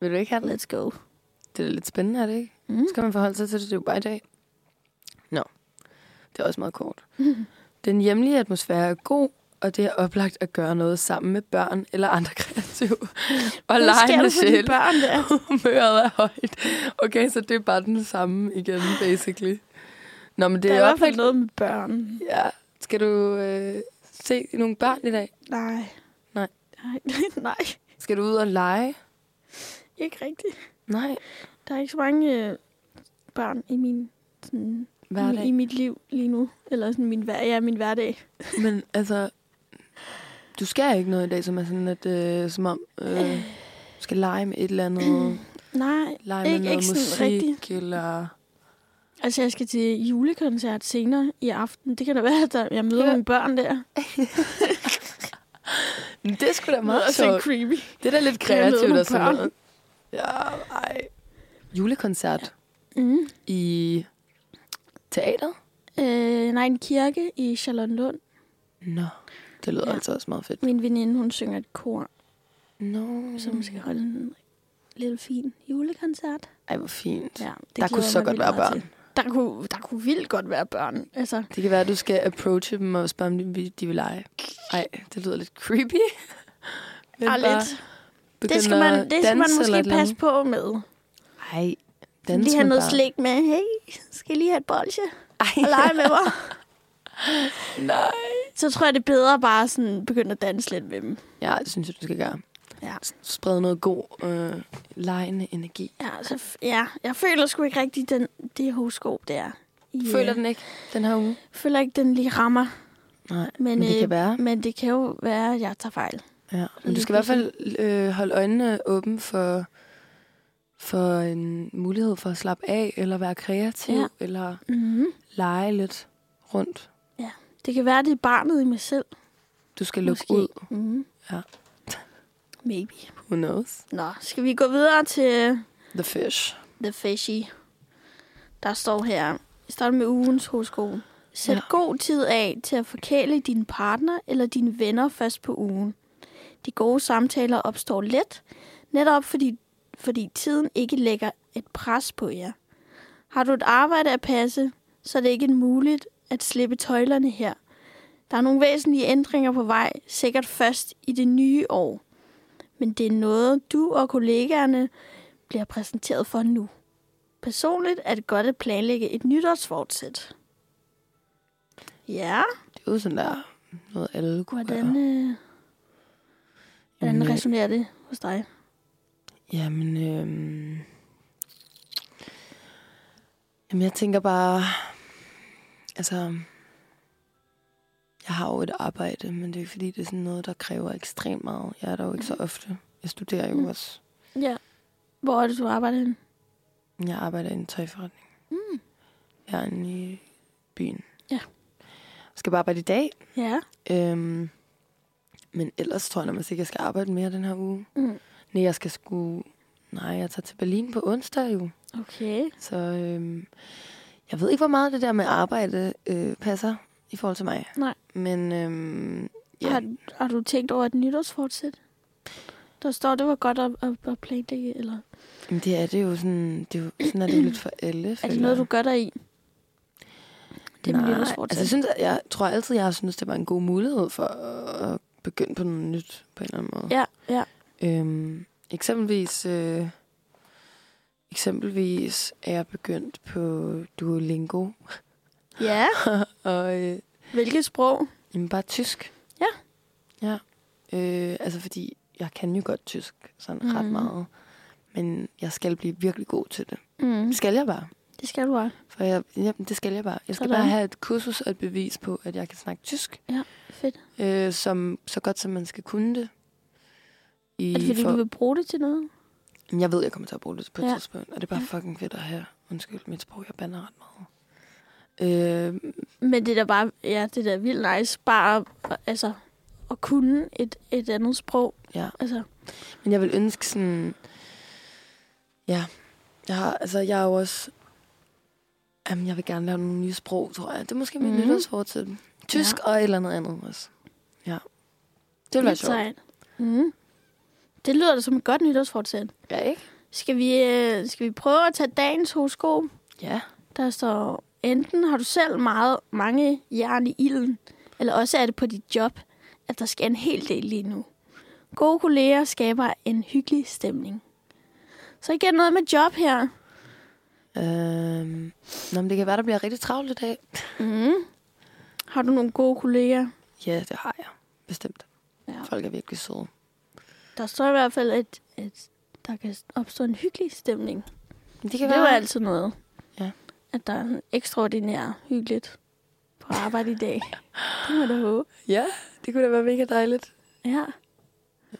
B: Vil du ikke have det?
A: let's go.
B: Det er lidt spændende, er det ikke?
A: Mm.
B: Skal man forholde sig til det? Det er jo bare i dag. Nå, det er også meget kort. Den hjemlige atmosfære er god, og det er oplagt at gøre noget sammen med børn eller andre kreative. Og
A: Hvad sker
B: lege
A: der
B: med
A: for dine
B: sjæl.
A: børn der?
B: humøret er højt. Okay, så det er bare den samme igen, basically. Nå, men det
A: Det
B: er,
A: er i hvert fald
B: oplagt-
A: noget med børn.
B: Ja. Skal du øh, se nogle børn i dag?
A: Nej.
B: Nej.
A: Nej, nej.
B: Skal du ud og lege?
A: Ikke rigtigt.
B: Nej.
A: Der er ikke så mange øh, børn i min sådan, i, i
B: Hverdag.
A: mit liv lige nu. Eller sådan min, hver, ja, min hverdag.
B: Men altså, du skal ikke noget i dag, som er sådan, at øh, som om øh, Mm. du skal lege med et eller andet.
A: Nej.
B: Lege med
A: Ikke-
B: noget
A: ikke sådan
B: musik
A: rigtigt.
B: eller...
A: Altså, jeg skal til julekoncert senere i aften. Det kan da være, at der- jeg møder
B: Ja.
A: ja. nogle børn der.
B: Men Det er sgu da
A: Det er
B: meget
A: også lidt
B: sjovt.
A: creepy.
B: Det er da lidt
A: Jeg har lavet
B: kreativt
A: nogle
B: og sådan
A: børn.
B: noget. Ja, ej. Julekoncert
A: Mm.
B: i teateret?
A: Øh, nej, en kirke i Charlottenlund.
B: Nå, det lyder
A: Ja.
B: ja. altså også meget fedt.
A: Min veninde, hun synger et kor,
B: Nå,
A: så hun skal holde en lille fin julekoncert.
B: Ej, hvor fint. Ja,
A: Ja, det
B: der
A: glæder
B: kunne så
A: jeg mig
B: godt være
A: vildt meget
B: børn.
A: til. Der kunne, der kunne vildt godt være børn. Altså,
B: Det kan være, at du skal approache dem og spørge, om de- de vil lege. Nej, det lyder lidt creepy. Men
A: ah,
B: bare
A: lidt.
B: begynde
A: Det skal man,
B: at
A: det skal man
B: danse eller et
A: måske
B: eller
A: passe
B: andet.
A: på med.
B: Ej,
A: Dans
B: dans
A: lige have
B: med
A: noget
B: bare.
A: slik med. Hey, skal I lige have et bolsje og
B: Ej,
A: lege med mig?
B: nej.
A: Så tror jeg, det er bedre bare sådan begynde at danse lidt med dem.
B: Ja, det synes jeg, du skal gøre.
A: Ja.
B: S- Sprede noget god, øh, legende energi.
A: Ja, så f- ja, jeg føler sgu ikke rigtigt den, det horoskop der. øh,
B: Yeah. Føler den ikke, den her uge?
A: føler ikke, den lige rammer.
B: Nej,
A: Men,
B: men, men det
A: øh,
B: kan være.
A: Men det kan jo være, at jeg tager fejl.
B: Ja. Men du skal i hvert fald øh, holde øjnene åbne for, for en mulighed for at slappe af, eller være kreativ,
A: Ja.
B: ja. eller
A: Mm-hmm.
B: lege lidt rundt.
A: Det kan være, det er barnet i mig selv.
B: Du skal lukke
A: Måske.
B: ud.
A: Mm-hmm.
B: Ja.
A: Maybe.
B: Who knows?
A: Nå, skal vi gå videre til
B: The fish.
A: The Fishy. Der står her, vi starter med ugens horoskop. Sæt ja.
B: Ja.
A: god tid af til at forkæle din partner eller dine venner først på ugen. De gode samtaler opstår let, netop fordi, fordi tiden ikke lægger et pres på jer. Har du et arbejde at passe, så er det ikke muligt at slippe tøjlerne her. Der er nogle væsentlige ændringer på vej, sikkert først i det nye år. Men det er noget, du og kollegaerne bliver præsenteret for nu. Personligt er det godt at planlægge et nytårsfortsæt. Ja,
B: Det er jo sådan der noget, alle kunne
A: hvordan,
B: gøre.
A: øh, hvordan
B: Jamen, øh,
A: resonerer det hos dig?
B: Jamen, øhm... Jamen, jeg tænker bare... Altså... Jeg har jo et arbejde, men det er jo ikke, fordi, det er sådan noget, der kræver ekstremt meget. Jeg er der jo ikke
A: Mhm.
B: så ofte. Jeg studerer jo
A: Mm.
B: også.
A: Ja. Hvor er det, du arbejder henne?
B: Jeg arbejder i en tøjforretning.
A: Mm.
B: Jeg er inde i byen.
A: Ja.
B: Skal bare arbejde i dag.
A: Ja.
B: Øhm, men ellers tror jeg nærmest ikke, jeg skal arbejde mere den her uge.
A: Mm.
B: Nej, jeg skal sgu... Nej, jeg tager til Berlin på onsdag jo.
A: Okay.
B: Så øhm, jeg ved ikke, hvor meget det der med arbejde øh, passer i forhold til mig.
A: Nej.
B: Men øhm,
A: Ja.
B: ja,
A: Har, har du tænkt over et nytårsfortsæt? Der står, det var godt at, at, at planlægge, eller
B: men det er det jo sådan, det er jo, sådan er det jo lidt for alle.
A: er
B: føler
A: det noget,
B: jeg.
A: du gør dig i? Det er mit
B: Nej,
A: nytårsfortsæt.
B: altså, jeg, synes, at jeg tror altid, jeg har synes det var en god mulighed for at begynde på noget nyt på en eller anden måde.
A: Ja, ja.
B: Øhm, eksempelvis, øh, eksempelvis er jeg begyndt på Duolingo
A: Ja,
B: og øh,
A: hvilket sprog?
B: Jamen bare tysk.
A: Ja.
B: Ja. Øh, altså fordi, jeg kan jo godt tysk sådan mm. ret
A: Mhm.
B: meget. Men jeg skal blive virkelig god til det.
A: Mm.
B: Det skal jeg bare.
A: Det skal du have.
B: For jeg, jamen, det skal jeg bare. Jeg skal
A: Sådan.
B: bare have et kursus og et bevis på, at jeg kan snakke tysk.
A: Fedt.
B: Øh, som, så godt som man skal kunne det. I
A: Er det, fordi
B: for,
A: du vil bruge det til noget?
B: Jamen, Jeg ved, jeg kommer til at bruge det på et
A: Ja.
B: ja. tidspunkt. Og det er bare ja. fucking fedt at have. Undskyld mit sprog, jeg bander ret meget. Øh,
A: Men det er da bare, ja, det er da vildt nice, bare at, altså, at kunne et, et andet sprog.
B: ja.
A: Altså,
B: Men jeg vil ønske sådan... Ja, jeg har, altså jeg er jo også... Jamen, jeg vil gerne lære nogle nye sprog, tror jeg. Det er måske min
A: Mhm.
B: mm. nytårsfortid. Tysk ja. og et eller andet andet også. Ja. Det vil være sjovt.
A: sejt. Mm. Det lyder da som et godt nytårsfortsæt.
B: Ja, ikke?
A: Skal vi, øh, skal vi prøve at tage dagens horoskop?
B: Ja.
A: Der står, enten har du selv meget, mange jern i ilden, eller også er det på dit job, at der sker en hel del lige nu. Gode kolleger skaber en hyggelig stemning. Så igen noget med job her.
B: Øhm, nå, men det kan være, der bliver rigtig travlt i dag.
A: Mm. Har du nogle gode kolleger?
B: Ja, det har jeg. Bestemt.
A: Ja.
B: Ja. Folk er virkelig søde.
A: Der står i hvert fald, at, at der kan opstå en hyggelig stemning. Det,
B: Men det
A: det
B: kan
A: er jo
B: være...
A: altid noget.
B: Ja.
A: At der er en ekstraordinær hyggeligt på arbejde i dag. det må du håbe.
B: Ja, det kunne da være mega dejligt.
A: Ja.
B: Så,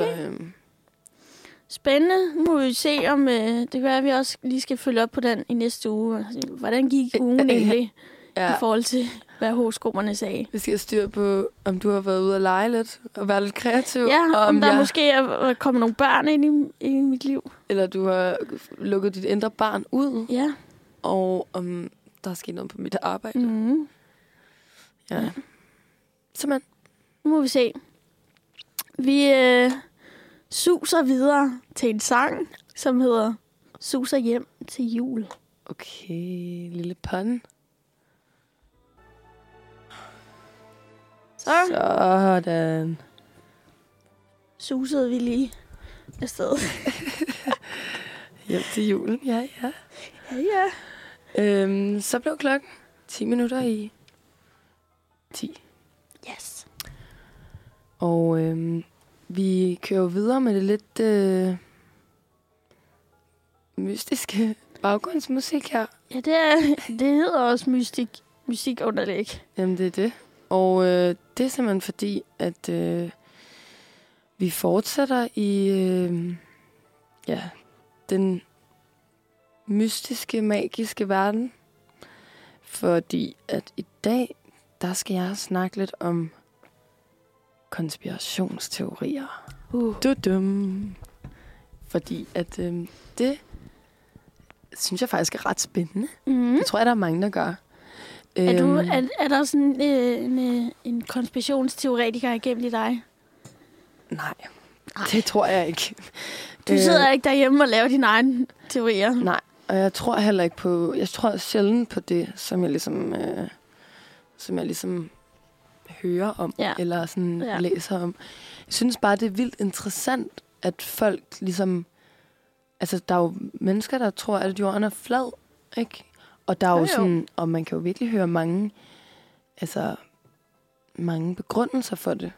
A: Okay.
B: øhm,
A: Spændende. Nu må vi se, om øh, det kan være, at vi også lige skal følge op på den i næste uge. Altså, Hvordan gik ugen egentlig ja.
B: ja.
A: i forhold til, hvad horoskoperne sagde?
B: Vi skal have styr på, om du har været ude at lege lidt, og være lidt kreativ.
A: Ja,
B: og
A: om, om der
B: jeg,
A: måske er er kommet nogle børn ind i, i mit liv.
B: Eller du har lukket dit indre barn ud,
A: Ja. Mhm.
B: og om der er sket noget på mit arbejde.
A: Mm.
B: Ja. Simpelthen.
A: Nu må vi se. Vi øh, suser videre til en sang, som hedder Suser hjem til jul.
B: Okay, lille pun.
A: Så
B: Sådan.
A: susede vi lige afsted.
B: Hjem til julen, ja, ja.
A: Ja, ja.
B: Øhm, så blev klokken 10 minutter i 10.
A: Yes.
B: Og øhm, vi kører jo videre med det lidt øh, mystiske baggrundsmusik her.
A: Ja, det, er, det hedder også mystik, musikunderlæg.
B: Jamen, det er det. Og øh, det er simpelthen fordi, at øh, vi fortsætter i øh, ja, den mystiske, magiske verden. Fordi at i dag, der skal jeg snakke lidt om konspirationsteorier.
A: Uh.
B: Dudum. Fordi at øh, det synes jeg faktisk er ret spændende.
A: Mm.
B: Det tror jeg, der er mange, der gør.
A: Er, du,
B: Øhm,
A: er, er der sådan øh, en, øh, en konspirationsteoretiker igennem i dig?
B: Nej, det tror jeg ikke.
A: Du øh. sidder ikke derhjemme og laver dine egne teorier.
B: Nej, og jeg tror heller ikke på... Jeg tror sjældent på det, som jeg ligesom, øh, som jeg ligesom hører om,
A: Ja.
B: eller sådan
A: Ja.
B: ja. læser om. Jeg synes bare, det er vildt interessant, at folk ligesom... Altså, der er jo mennesker, der tror, at jorden er flad, ikke? Og der er jo,
A: Jo, jo.
B: jo sådan... Og man kan jo virkelig høre mange... Altså, mange begrundelser for det.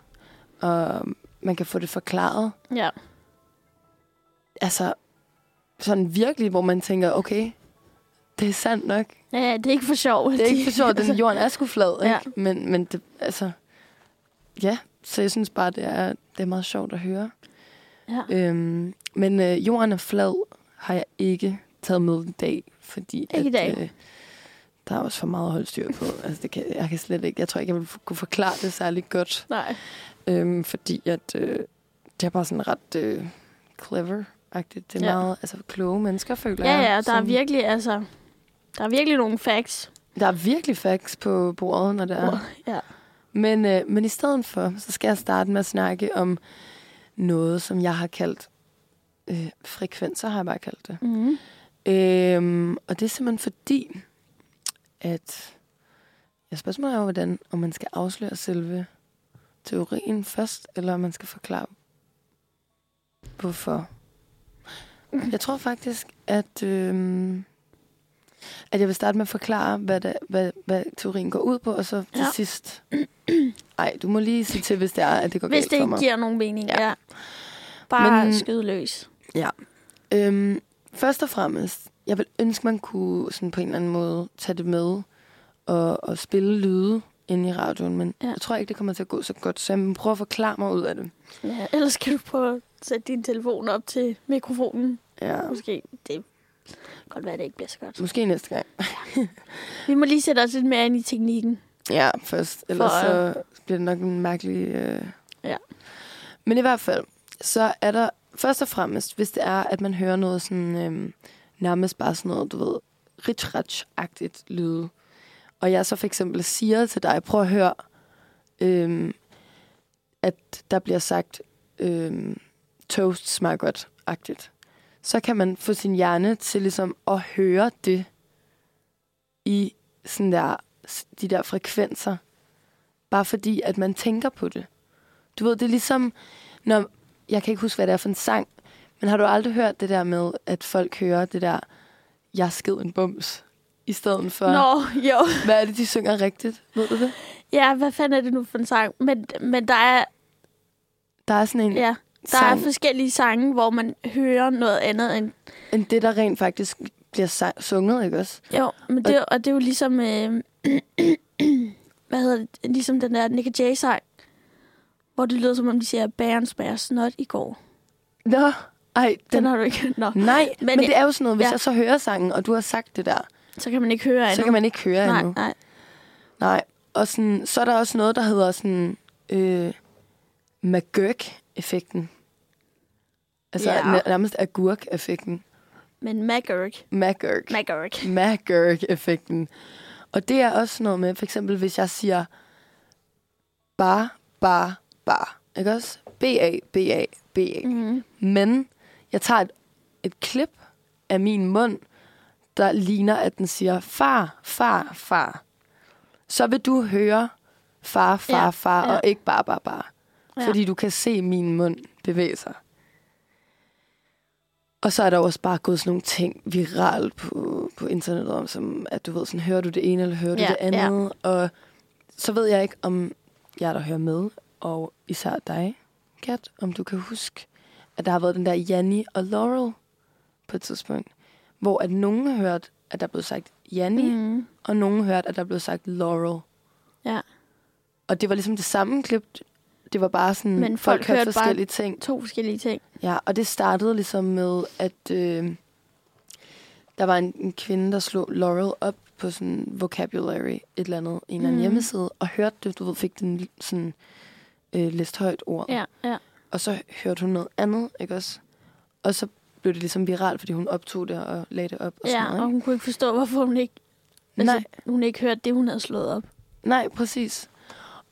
B: Og man kan få det forklaret.
A: Ja.
B: altså, sådan virkelig, hvor man tænker, okay, det er sandt nok.
A: ja, det er ikke for sjov.
B: Det er ikke for sjovt, den jorden er sgu flad, ikke?
A: Ja.
B: Men, men det, altså, ja, så jeg synes bare, det er, det er meget sjovt at høre.
A: Ja.
B: Øhm, men øh, jorden er flad har jeg ikke taget med i dag, fordi
A: Ikke i dag.
B: Øh, der er også for meget at holde styr på. Altså, det kan, jeg kan slet ikke, jeg tror ikke, jeg vil kunne forklare det særlig godt.
A: Nej.
B: Øhm, fordi at øh, det er bare sådan ret øh, clever-agtigt. Det er
A: Ja.
B: ja. meget altså, kloge mennesker, føler
A: Ja,
B: jeg.
A: ja, der er
B: som-
A: virkelig, altså... Der er virkelig nogle facts.
B: der er virkelig facts på bordet, når det er.
A: Ja.
B: Men, øh, men i stedet for, så skal jeg starte med at snakke om noget, som jeg har kaldt øh, frekvenser, har jeg bare kaldt det.
A: Mm.
B: Øhm, og det er simpelthen fordi, at jeg spørgsmålet er jo, hvordan, om man skal afsløre selve teorien først, eller om man skal forklare, hvorfor. Jeg tror faktisk, at, øhm, at jeg vil starte med at forklare, hvad, det, hvad, hvad teorien går ud på, og så til
A: Ja.
B: ja. sidst... Ej, du må lige sige til, hvis det er, at det går
A: Hvis
B: galt
A: det
B: for
A: ikke
B: mig.
A: giver nogen mening, ja.
B: Ja.
A: ja. Bare Men...
B: Men-
A: skyde løs.
B: Øhm, først og fremmest, jeg vil ønske, man kunne sådan på en eller anden måde tage det med og, og spille lyde inde i radioen, men
A: Ja.
B: ja. jeg tror ikke, det kommer til at gå så godt, så jeg må prøve at forklare mig ud af det.
A: Ja, ellers kan du prøve at sætte din telefon op til mikrofonen.
B: Ja.
A: Måske det kan godt være, det ikke bliver så godt.
B: Måske næste gang.
A: Vi må lige sætte os lidt mere ind i teknikken.
B: Ja, først. Ellers
A: For,
B: så bliver det nok en mærkelig... Øh...
A: Ja.
B: Men i hvert fald, så er der først og fremmest, hvis det er, at man hører noget sådan... Øh, nærmest bare sådan noget, du ved, rich agtigt lyde. Og jeg så for eksempel siger til dig, prøv at høre, øh, at der bliver sagt øh, toast smager godt-agtigt. Så kan man få sin hjerne til ligesom at høre det i sådan der de der frekvenser, bare fordi, at man tænker på det. Du ved, det er ligesom, når, jeg kan ikke huske, hvad det er for en sang, men har du aldrig hørt det der med, at folk hører det der, jeg sked en bums, i stedet for,
A: Nå, jo.
B: hvad er det, de synger rigtigt? Ved du det?
A: Ja, hvad fanden er det nu for en sang? Men, men der er,
B: Der er sådan en,
A: ja, der er
B: sang,
A: forskellige sange, hvor man hører noget andet end...
B: end det, der rent faktisk bliver sang- sunget, ikke også?
A: Jo, men det, og det er jo ligesom... Øh, hvad hedder det? Ligesom den der Nick Jay-sang, hvor det lyder, som om de siger, bæren smager snot i går.
B: Nå, ej,
A: Den
B: den,
A: har du ikke hørt. Nå,
B: nej,
A: Men
B: men, men
A: jeg-
B: det er jo sådan noget, hvis
A: ja.
B: ja. jeg så hører sangen, og du har sagt det der,
A: så kan man ikke høre
B: så
A: endnu.
B: kan man ikke høre
A: nej,
B: endnu.
A: nej.
B: Nej, og sådan, så er der også noget, der hedder sådan øh, McGurk-effekten. Altså
A: Ja.
B: yeah. nærmest agurk-effekten.
A: Men Magurk.
B: McGurk.
A: Magurk.
B: McGurk-effekten. Og det er også noget med, for eksempel hvis jeg siger bare, bare, bare. Ikke også? B-A, B-A, B-A.
A: Mm.
B: Men jeg tager et, et klip af min mund, der ligner, at den siger, far, far, far. Så vil du høre far, far,
A: Ja,
B: far,
A: ja.
B: og ikke bare, bare, bare.
A: Ja.
B: Fordi du kan se min mund bevæge sig. Og så er der jo også bare gået sådan nogle ting viralt på, på internettet om, som at du ved, sådan, hører du det ene, eller hører du
A: Ja,
B: det andet? Ja. Og så ved jeg ikke, om jeg der hører med, og især dig, Kat, om du kan huske, at der har været den der Janni og Laurel på et tidspunkt, hvor at nogen hørte, at der blev sagt Janni, mm.
A: Mm.
B: og nogen hørte, at der blev sagt Laurel.
A: Ja.
B: Og det var ligesom det samme klip. Det var bare sådan,
A: Men
B: folk,
A: folk
B: folk hørte
A: hørte bare-
B: forskellige ting.
A: To forskellige ting.
B: Ja, og det startede ligesom med, at øh, der var en, en kvinde, der slog Laurel op på sådan vocabulary, et eller andet, en eller anden
A: Mhm.
B: hjemmeside, og hørte det, du ved, fik den sådan øh, læst højt ord.
A: Ja, ja.
B: Og så hørte hun noget andet, ikke også? Og så blev det ligesom viralt, fordi hun optog det og lagde det op. Og sådan
A: Ja,
B: noget,
A: og hun kunne ikke forstå, hvorfor hun ikke,
B: ikke? Nej,
A: altså, hun ikke hørte det, hun havde slået op.
B: nej, præcis.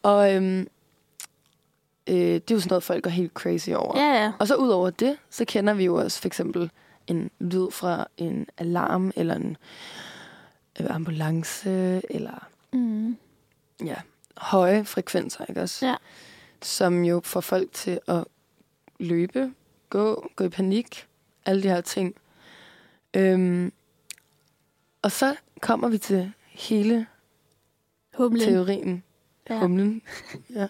B: Og øhm, øh, det er jo sådan noget, folk går helt crazy over.
A: Ja, ja.
B: Og så ud over det, så kender vi jo også for eksempel en lyd fra en alarm, eller en øh, ambulance, eller
A: Mm.
B: ja, høje frekvenser, ikke også?
A: Ja.
B: Som jo får folk til at løbe, gå, gå i panik, alle de her ting. Øhm, og så kommer vi til hele
A: Humlen.
B: teorien,
A: Ja.
B: humlen. ja.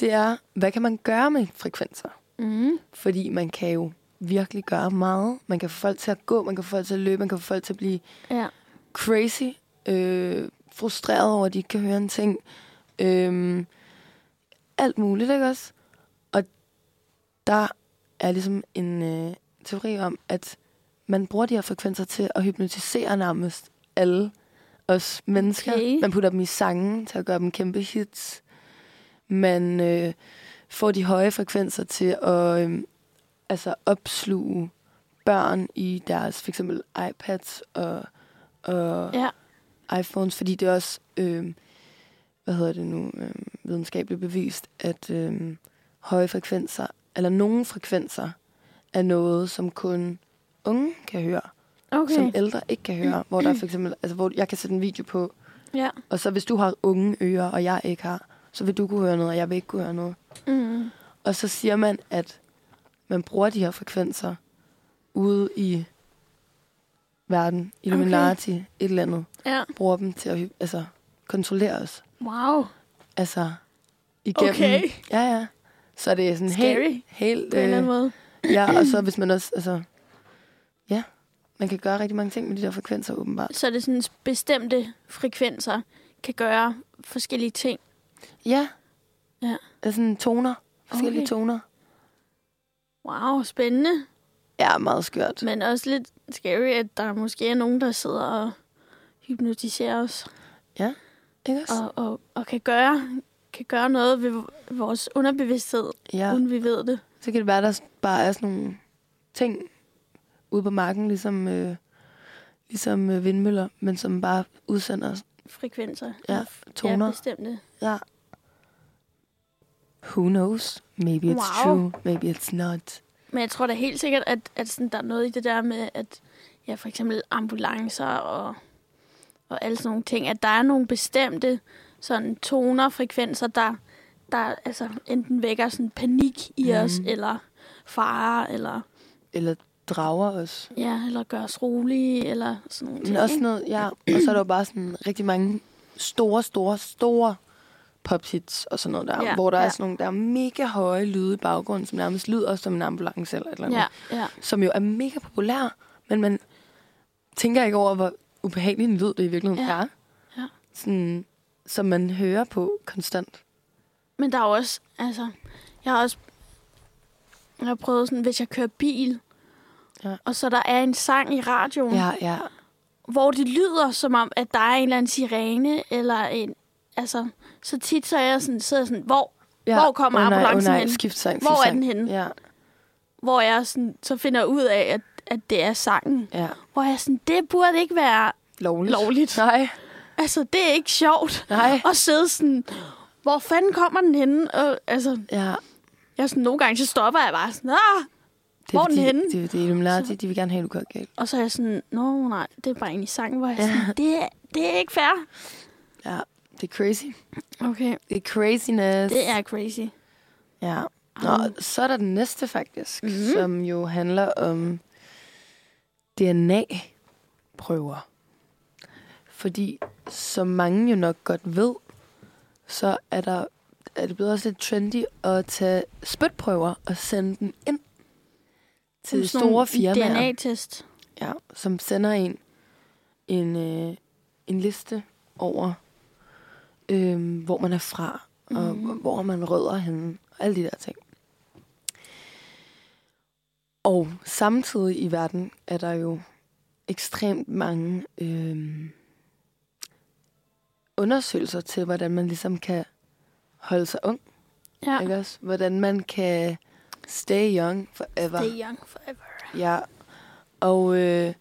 B: Det er, hvad kan man gøre med frekvenser?
A: Mm.
B: Fordi man kan jo virkelig gøre meget. Man kan få folk til at gå, man kan få folk til at løbe, man kan få folk til at blive
A: Ja.
B: crazy, øh, frustreret over, at de ikke kan høre en ting. Øh, alt muligt, ikke også? Og der er ligesom en øh, teori om, at man bruger de her frekvenser til at hypnotisere nærmest alle os mennesker.
A: Okay.
B: Man putter dem i sange til at gøre dem kæmpe hits. Man øh, får de høje frekvenser til at øh, altså opsluge børn i deres for eksempel iPads og, og
A: Ja.
B: iPhones, fordi det er også, øh, hvad hedder det nu, øh, videnskabeligt bevist, at øh, høje frekvenser, eller nogle frekvenser, er noget, som kun unge kan høre, okay. som
A: Okay.
B: ældre ikke kan høre. Hvor der for eksempel, altså hvor jeg kan sætte en video på,
A: Ja.
B: og så hvis du har unge ører, og jeg ikke har, så vil du kunne høre noget, og jeg vil ikke kunne høre noget.
A: Mm.
B: Og så siger man, at man bruger de her frekvenser ude i verden, Illuminati, okay. et eller andet
A: Ja.
B: bruger dem til at hy- altså, kontrollere os.
A: Wow.
B: Altså, igennem.
A: Okay.
B: Ja, ja. Så det er sådan
A: Scary,
B: helt... helt øh,
A: På en eller anden måde.
B: ja, og så hvis man også... Altså, ja, man kan gøre rigtig mange ting med de der frekvenser, åbenbart.
A: Så er det sådan bestemte frekvenser kan gøre forskellige ting.
B: Ja.
A: Ja.
B: Altså sådan toner. Forskellige
A: Okay.
B: okay. toner.
A: Wow, spændende.
B: Ja, meget skørt.
A: Men også lidt scary, at der måske er nogen, der sidder og hypnotiserer os
B: Ikke også?
A: og, og, og kan, gøre, kan gøre noget ved vores underbevidsthed, ja.
B: Ja.
A: uden vi ved det.
B: Så kan det være, der bare er sådan nogle ting ude på marken, ligesom, øh, ligesom øh, vindmøller, men som bare udsender
A: Frekvenser.
B: ja, toner.
A: Ja, bestemte.
B: Ja. Who knows? Maybe it's
A: Wow.
B: true. Maybe it's not.
A: Men jeg tror da helt sikkert, at, at sådan, der er noget i det der med, at ja, for eksempel ambulancer og, og alle sådan nogle ting, at der er nogle bestemte sådan toner, frekvenser, der, der altså, enten vækker sådan panik i mm. os,
B: Mhm.
A: eller fare, eller,
B: Eller drager os.
A: ja, eller gør os rolige, eller sådan nogle
B: Men
A: ting.
B: også
A: ikke?
B: noget, ja. Og så er der jo bare sådan rigtig mange store, store, store pophits og sådan noget der,
A: Ja,
B: ja, hvor der
A: ja.
B: er sådan nogle, der er mega høje lyde i baggrunden, som nærmest lyder som en ambulance eller et eller andet.
A: Ja, ja.
B: Som jo er mega populær, men man tænker ikke over, hvor ubehagelig en lyd det i virkeligheden
A: Ja,
B: er.
A: ja.
B: Sådan, som man hører på konstant.
A: Men der er jo også, altså, jeg har også jeg har prøvet sådan, hvis jeg kører bil,
B: Ja.
A: og så der er en sang i radioen,
B: Ja, ja.
A: hvor det lyder som om, at der er en eller anden sirene, eller en, altså, så tit så er jeg sådan, så er jeg sådan hvor,
B: ja.
A: Hvor kommer
B: Åh nej, åh
A: ambulancen
B: nej.
A: hen?
B: Skift sang,
A: Hvor
B: skift
A: er den
B: sang.
A: henne?
B: Ja,
A: hvor jeg sådan, så finder jeg ud af, at, at det er sangen.
B: ja.
A: Hvor jeg er sådan, det burde ikke være,
B: Lovligt.
A: Lovligt.
B: Nej,
A: altså, det er ikke sjovt
B: nej.
A: at sidde sådan, hvor fanden kommer den henne? Og, altså,
B: Ja,
A: jeg er sådan, nogle gange, så stopper jeg bare sådan, ah!
B: det
A: Hvor er den
B: fordi,
A: henne?
B: Det er fordi, de, lærer, de, de vil gerne have, at du gør galt.
A: Og så er jeg sådan, nå nej, det er bare en i sang, hvor jeg er sådan, det, er, det er ikke fair.
B: Ja, det er crazy.
A: Okay,
B: Det er craziness.
A: det er crazy.
B: Ja. Nå, så er der den næste faktisk, mm. som jo handler om DNA-prøver. Fordi, som mange jo nok godt ved, så er der er det blevet også lidt trendy at tage spytprøver og sende dem ind til
A: Som sådan
B: store
A: en
B: firmaer.
A: DNA-test.
B: Ja, som sender en en, øh, en liste over, øh, hvor man er fra, og mm. hvor man rødder henne, og alle de der ting. Og samtidig i verden er der jo ekstremt mange øh, undersøgelser til, hvordan man ligesom kan holde sig ung,
A: Ja,
B: ikke også? Hvordan man kan stay young forever.
A: det er young forever.
B: Ja, og øh,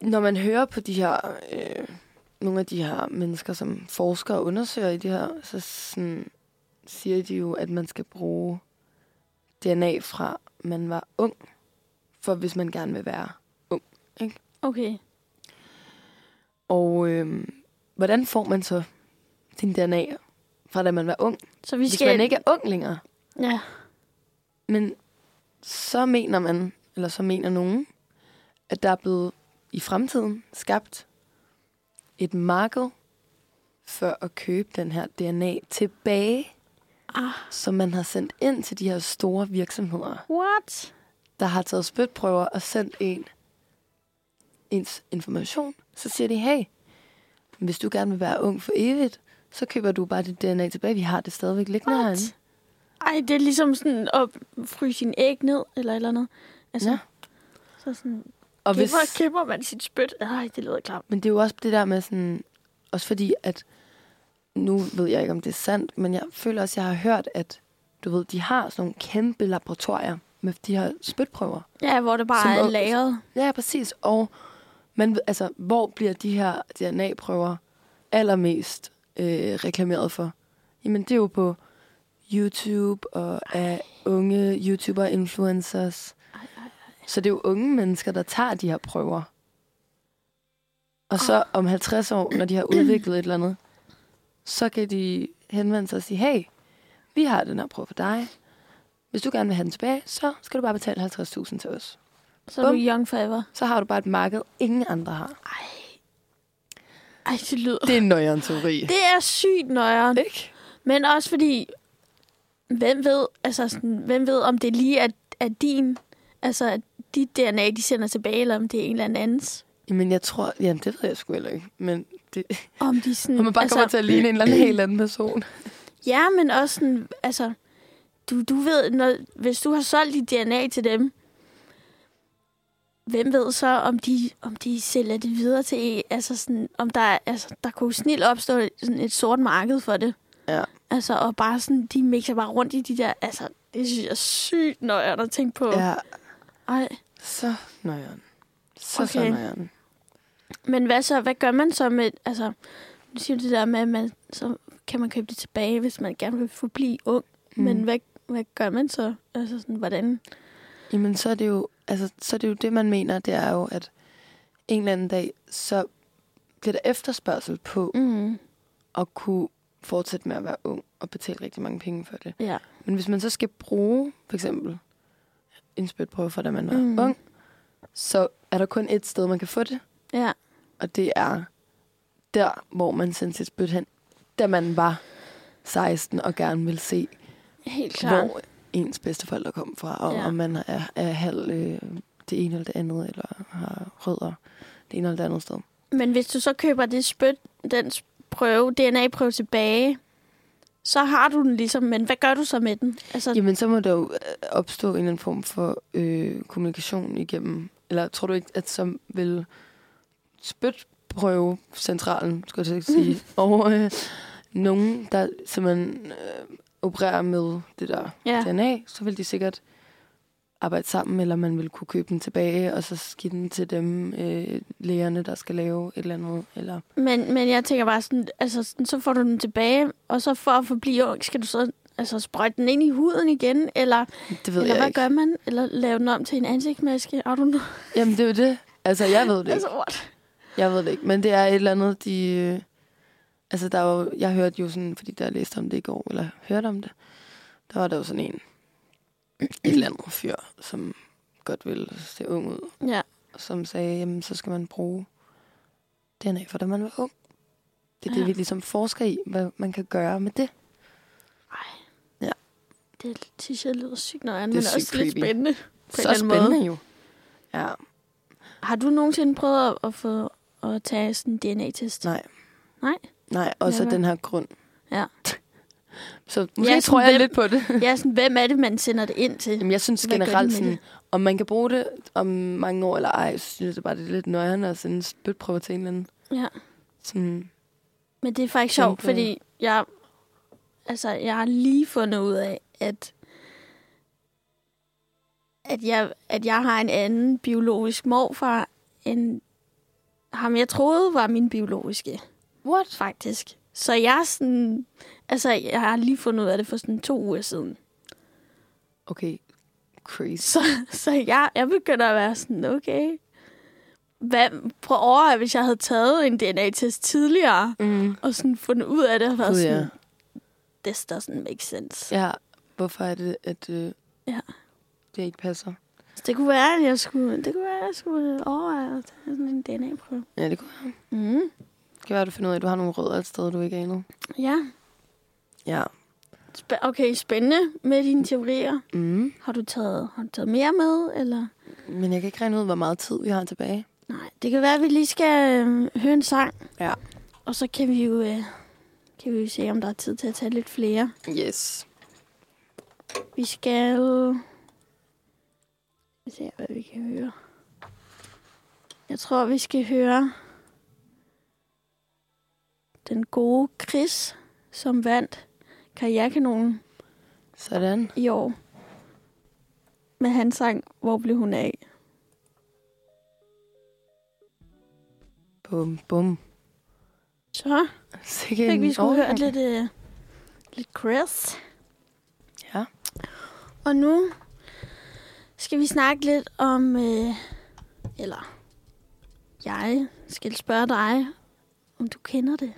B: når man hører på de her, øh, nogle af de her mennesker, som forsker og undersøger i det her, så sådan, siger de jo, at man skal bruge DNA fra, man var ung, for hvis man gerne vil være ung. Ikke?
A: Okay,
B: Og øh, hvordan får man så sin DNA fra, da man var ung,
A: så vi
B: hvis
A: skal...
B: man ikke er ung længere?
A: Ja,
B: Men så mener man, eller så mener nogen, at der er blevet i fremtiden skabt et marked for at købe den her DNA tilbage,
A: Ah.
B: som man har sendt ind til de her store virksomheder,
A: what?
B: der har taget spytprøver og sendt en ens information. Så siger de, hey, hvis du gerne vil være ung for evigt, så køber du bare dit DNA tilbage. Vi har det stadigvæk liggende
A: What?
B: herinde.
A: Ej, det er ligesom sådan at fryse sin æg ned, eller et eller andet. Altså,
B: Ja.
A: ja. så sådan,
B: Og
A: og hvis... kæmper, kæmper man sit spyt. Ej, det lyder klamt.
B: Men det er jo også det der med sådan... Også fordi, at... Nu ved jeg ikke, om det er sandt, men jeg føler også, at jeg har hørt, at du ved, de har sådan nogle kæmpe laboratorier med de her spytprøver.
A: Ja, hvor det bare
B: Som
A: er
B: ung-
A: lagret.
B: Ja, præcis. Og man, ved- altså, hvor bliver de her DNA-prøver allermest øh, reklameret for? Jamen, det er jo på YouTube og af unge YouTubere og influencers. Så det er jo unge mennesker, der tager de her prøver. Og så om 50 år, når de har udviklet et eller andet, så kan de henvende sig og sige, hey, vi har den her prøve for dig. Hvis du gerne vil have den tilbage, så skal du bare betale 50.000 til os
A: Så er du
B: Bum.
A: young forever.
B: så har du bare et marked, ingen andre har.
A: Ej, det lyder...
B: Det er en nøjeren teori.
A: Det er sygt nøjeren.
B: Ikke?
A: Men også fordi, hvem ved, altså sådan, hvem ved om det lige er, er din, altså at dit DNA, de sender tilbage, eller om det er en eller anden andens.
B: Jamen, jeg tror... Jamen, det ved jeg sgu heller ikke. Men det,
A: Om de sådan,
B: om man bare altså, kommer til at ligne en eller anden helt anden person.
A: Ja, men også sådan, altså, du, du ved, når, hvis du har solgt dit DNA til dem, hvem ved så, om de, om de sælger det videre til en? Altså, sådan, om der, er- altså, der kunne snil opstå sådan et sort marked for det.
B: Ja.
A: Altså, og bare sådan, de mixer bare rundt i de der, altså, det synes jeg er sygt nøjeren at tænke på.
B: Ja,
A: Ej,
B: så nøjeren. Så, okay. så
A: Okay.
B: nøjeren.
A: men hvad så, hvad gør man så med, altså, nu siger du det der med, at man, så kan man købe det tilbage, hvis man gerne vil forblive ung. Mm. Men hvad, hvad gør man så? Altså sådan, hvordan?
B: Jamen, så er det jo... Altså, så er det jo det, man mener, det er jo, at en eller anden dag, så bliver der efterspørgsel på
A: Mm.
B: at kunne fortsætte med at være ung og betale rigtig mange penge for det.
A: Ja.
B: Men hvis man så skal bruge, for eksempel, en spytprøve fra, da man var mm.
A: Mhm.
B: ung, så er der kun et sted, man kan få det,
A: ja.
B: og det er der, hvor man sendte sit spyt hen, da man var 16 og gerne ville se,
A: Helt
B: Klar.
A: klart.
B: hvor ens bedsteforældre kom fra, og ja.
A: Ja.
B: om man er, er halv øh, det ene eller det andet, eller har rødder det ene eller det andet sted.
A: Men hvis du så køber det spyt, den s- prøve, DNA-prøve tilbage, så har du den ligesom, men hvad gør du så med den? Altså,
B: Jamen, så må der jo øh, opstå en eller anden form for øh, kommunikation igennem. Eller tror du ikke, at så vil spytprøve centralen, skulle jeg til at sige, og øh, nogen, der simpelthen øh, opererer med det der
A: ja.
B: DNA, så vil de sikkert arbejde sammen, eller man ville kunne købe den tilbage, og så give den til dem, øh, lægerne, der skal lave et eller andet. Eller,
A: Men, men jeg tænker bare sådan, altså sådan, så får du den tilbage, og så for at forblive ung, skal du så altså, sprøjte den ind i huden igen, eller,
B: det ved
A: eller
B: jeg
A: hvad
B: ikke.
A: gør man? Eller lave den om til en ansigtsmaske? I don't know.
B: Jamen, det er jo det. Altså, jeg ved det ikke.
A: Altså, what?
B: Jeg ved det ikke, men det er et eller andet, de... øh, Altså, der var, jeg hørte jo sådan, fordi der læste om det i går, eller hørte om det, der var der jo sådan en, et eller andet fyr, som godt ville se ung ud,
A: Ja.
B: og som sagde, jamen, så skal man bruge DNA for, da man var ung. Det er det,
A: Ja.
B: vi ligesom forsker i, hvad man kan gøre med det.
A: Det synes jeg lyder sygt nøjeren,
B: Det er
A: men
B: sygt
A: også lidt
B: creepy.
A: spændende. På en
B: så
A: eller anden
B: spændende
A: Måde.
B: jo. Ja,
A: Har du nogensinde prøvet at, at få at tage sådan en DNA-test?
B: nej.
A: Nej?
B: Nej, og så
A: Never.
B: den her grund.
A: Ja.
B: Så måske ja,
A: sådan
B: tror jeg
A: hvem-
B: lidt på det.
A: Ja, sådan, hvem er det, man sender det ind til?
B: Jamen, jeg synes
A: Hvad gør de
B: generelt,
A: med
B: sådan,
A: det?
B: om man kan bruge det om mange år eller ej, så synes jeg bare, det er lidt nøjerne at sende spytprøver til en eller anden.
A: Ja.
B: Sådan,
A: Men det er faktisk
B: Tænker
A: sjovt, fordi jeg, altså, jeg har lige fundet ud af, at, at, jeg, at jeg har en anden biologisk morfar, end ham jeg troede var min biologiske,
B: what?
A: faktisk. Så jeg er sådan, altså, jeg har lige fundet ud af det for sådan to uger siden.
B: Okay, crazy.
A: Så, så jeg, jeg begynder at være sådan, okay, hvad, prøv at overveje, hvis jeg havde taget en DNA-test tidligere,
B: Mm.
A: og sådan fundet ud af det, og været
B: Gud,
A: sådan,
B: ja.
A: this doesn't make sense.
B: ja, hvorfor er det, at øh,
A: Ja.
B: det ikke passer?
A: Så det kunne være, at jeg skulle, det kunne være, at jeg skulle overveje at tage sådan en DNA-prøve.
B: Ja, det kunne være. Mm-hmm.
A: Mm.
B: Det kan være, du finder ud af, at du har nogle rødder et sted, du ikke aner.
A: Ja.
B: Ja.
A: Sp- okay, spændende med dine teorier.
B: Mm.
A: Har du taget, har du taget mere med, eller?
B: Men jeg kan ikke regne ud, hvor meget tid vi har tilbage.
A: Nej, det kan være, at vi lige skal øh, høre en sang.
B: Ja.
A: Og så kan vi jo, øh, kan vi jo se, om der er tid til at tage lidt flere.
B: Yes.
A: Vi skal... jo- Vi ser, hvad vi kan høre. Jeg tror, vi skal høre den gode Chris, som vandt karrierekanonen
B: Sådan.
A: i år med hans sang, Hvor blev hun af?
B: Bum, bum.
A: Så
B: Sikke
A: fik
B: en
A: vi skulle høre
B: overgang.
A: lidt, øh, lidt Chris.
B: Ja.
A: Og nu skal vi snakke lidt om, øh, eller jeg skal spørge dig, om du kender det.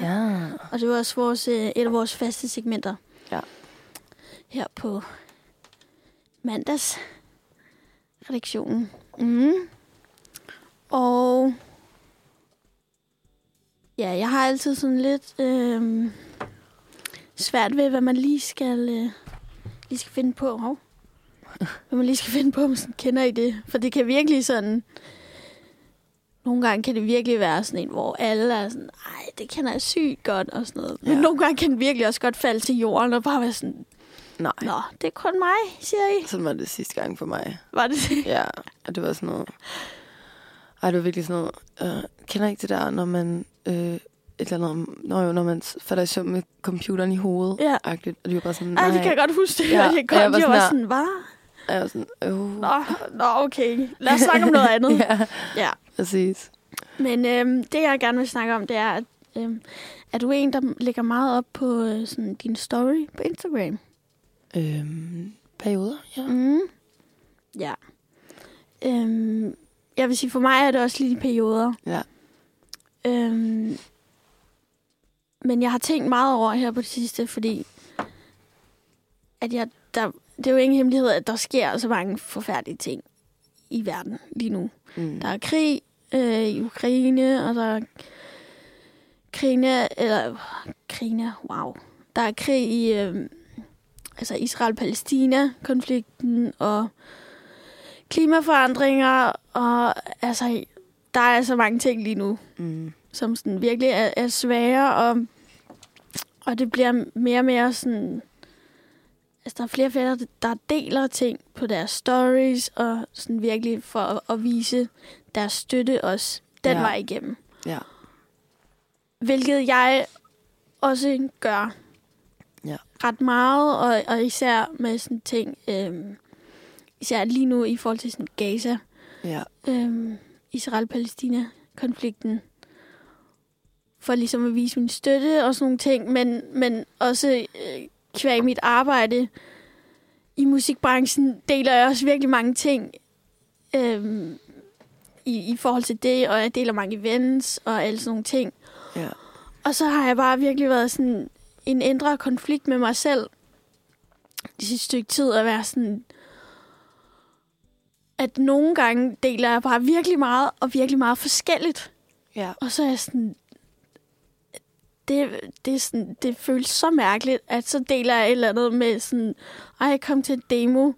B: Ja.
A: Og det var også vores, øh, et af vores faste segmenter.
B: Ja.
A: Her på mandags redaktionen. Mm. Og ja, jeg har altid sådan lidt øh, svært ved, hvad man lige skal, øh, lige skal finde på. Hov. Hvad man lige skal finde på, om sådan kender I det. For det kan virkelig sådan... Nogle gange kan det virkelig være sådan en, hvor alle er sådan, nej, det kender jeg sygt godt og sådan noget. Ja. Men
B: Ja.
A: nogle gange kan den virkelig også godt falde til jorden og bare være sådan,
B: Nej.
A: nå, det er kun mig, siger I.
B: Sådan var det sidste gang for mig.
A: Var det det?
B: Ja, og det var sådan noget... Ej, det var virkelig sådan noget... Øh, kender I ikke det der, når man... Øh, et eller andet, om- når, jo, når man s- falder i søvn med computeren i hovedet.
A: Ja.
B: Agtigt, og de var bare sådan, nej.
A: Ej, det kan jeg godt huske det.
B: Ja,
A: Ja, jeg,
B: og
A: godt,
B: jeg var
A: jeg var
B: sådan
A: sådan, hvad?
B: Og jeg var sådan, øh.
A: Nå, nå, okay. Lad os snakke om noget andet. ja.
B: ja,
A: Mm. ja.
B: præcis.
A: Men øhm, det, jeg gerne vil snakke om, det er, at øhm, er du en, der lægger meget op på øh, sådan, din story på Instagram?
B: Øhm, perioder, ja.
A: Mm. Ja. Øhm, jeg vil sige, for mig er det også lige i perioder.
B: Ja.
A: Øhm, men jeg har tænkt meget over her på det sidste, fordi at jeg, der, det er jo ingen hemmelighed, at der sker så mange forfærdelige ting i verden lige nu.
B: Mm.
A: Der er krig øh, i Ukraine, og der er krigene, eller krigene, wow. Der er krig i øh, altså Israel-Palæstina-konflikten, og klimaforandringer, og altså, der er så mange ting lige nu,
B: Mm.
A: som sådan virkelig er, er svære, og, og det bliver mere og mere sådan... Altså, der er flere og flere, der deler ting på deres stories, og sådan virkelig for at, at vise deres støtte også den
B: Ja.
A: ja. vej igennem.
B: Ja.
A: Hvilket jeg også gør
B: Ja.
A: ret meget, og, og især med sådan ting, øhm, Især lige nu i forhold til sådan Gaza,
B: Ja.
A: øhm, Israel-Palæstina-konflikten. For ligesom at vise min støtte og sådan nogle ting, men, men også øh, kvæg mit arbejde i musikbranchen deler jeg også virkelig mange ting øhm, i, i forhold til det, og jeg deler mange events og alle sådan nogle ting.
B: Ja.
A: Og så har jeg bare virkelig været sådan en indre konflikt med mig selv det sidste stykke tid at være sådan at nogle gange deler jeg bare virkelig meget og virkelig meget forskelligt.
B: Ja.
A: Og så er jeg sådan det, det, er sådan, det føles så mærkeligt, at så deler jeg et eller andet med sådan, ej, jeg kom til en demo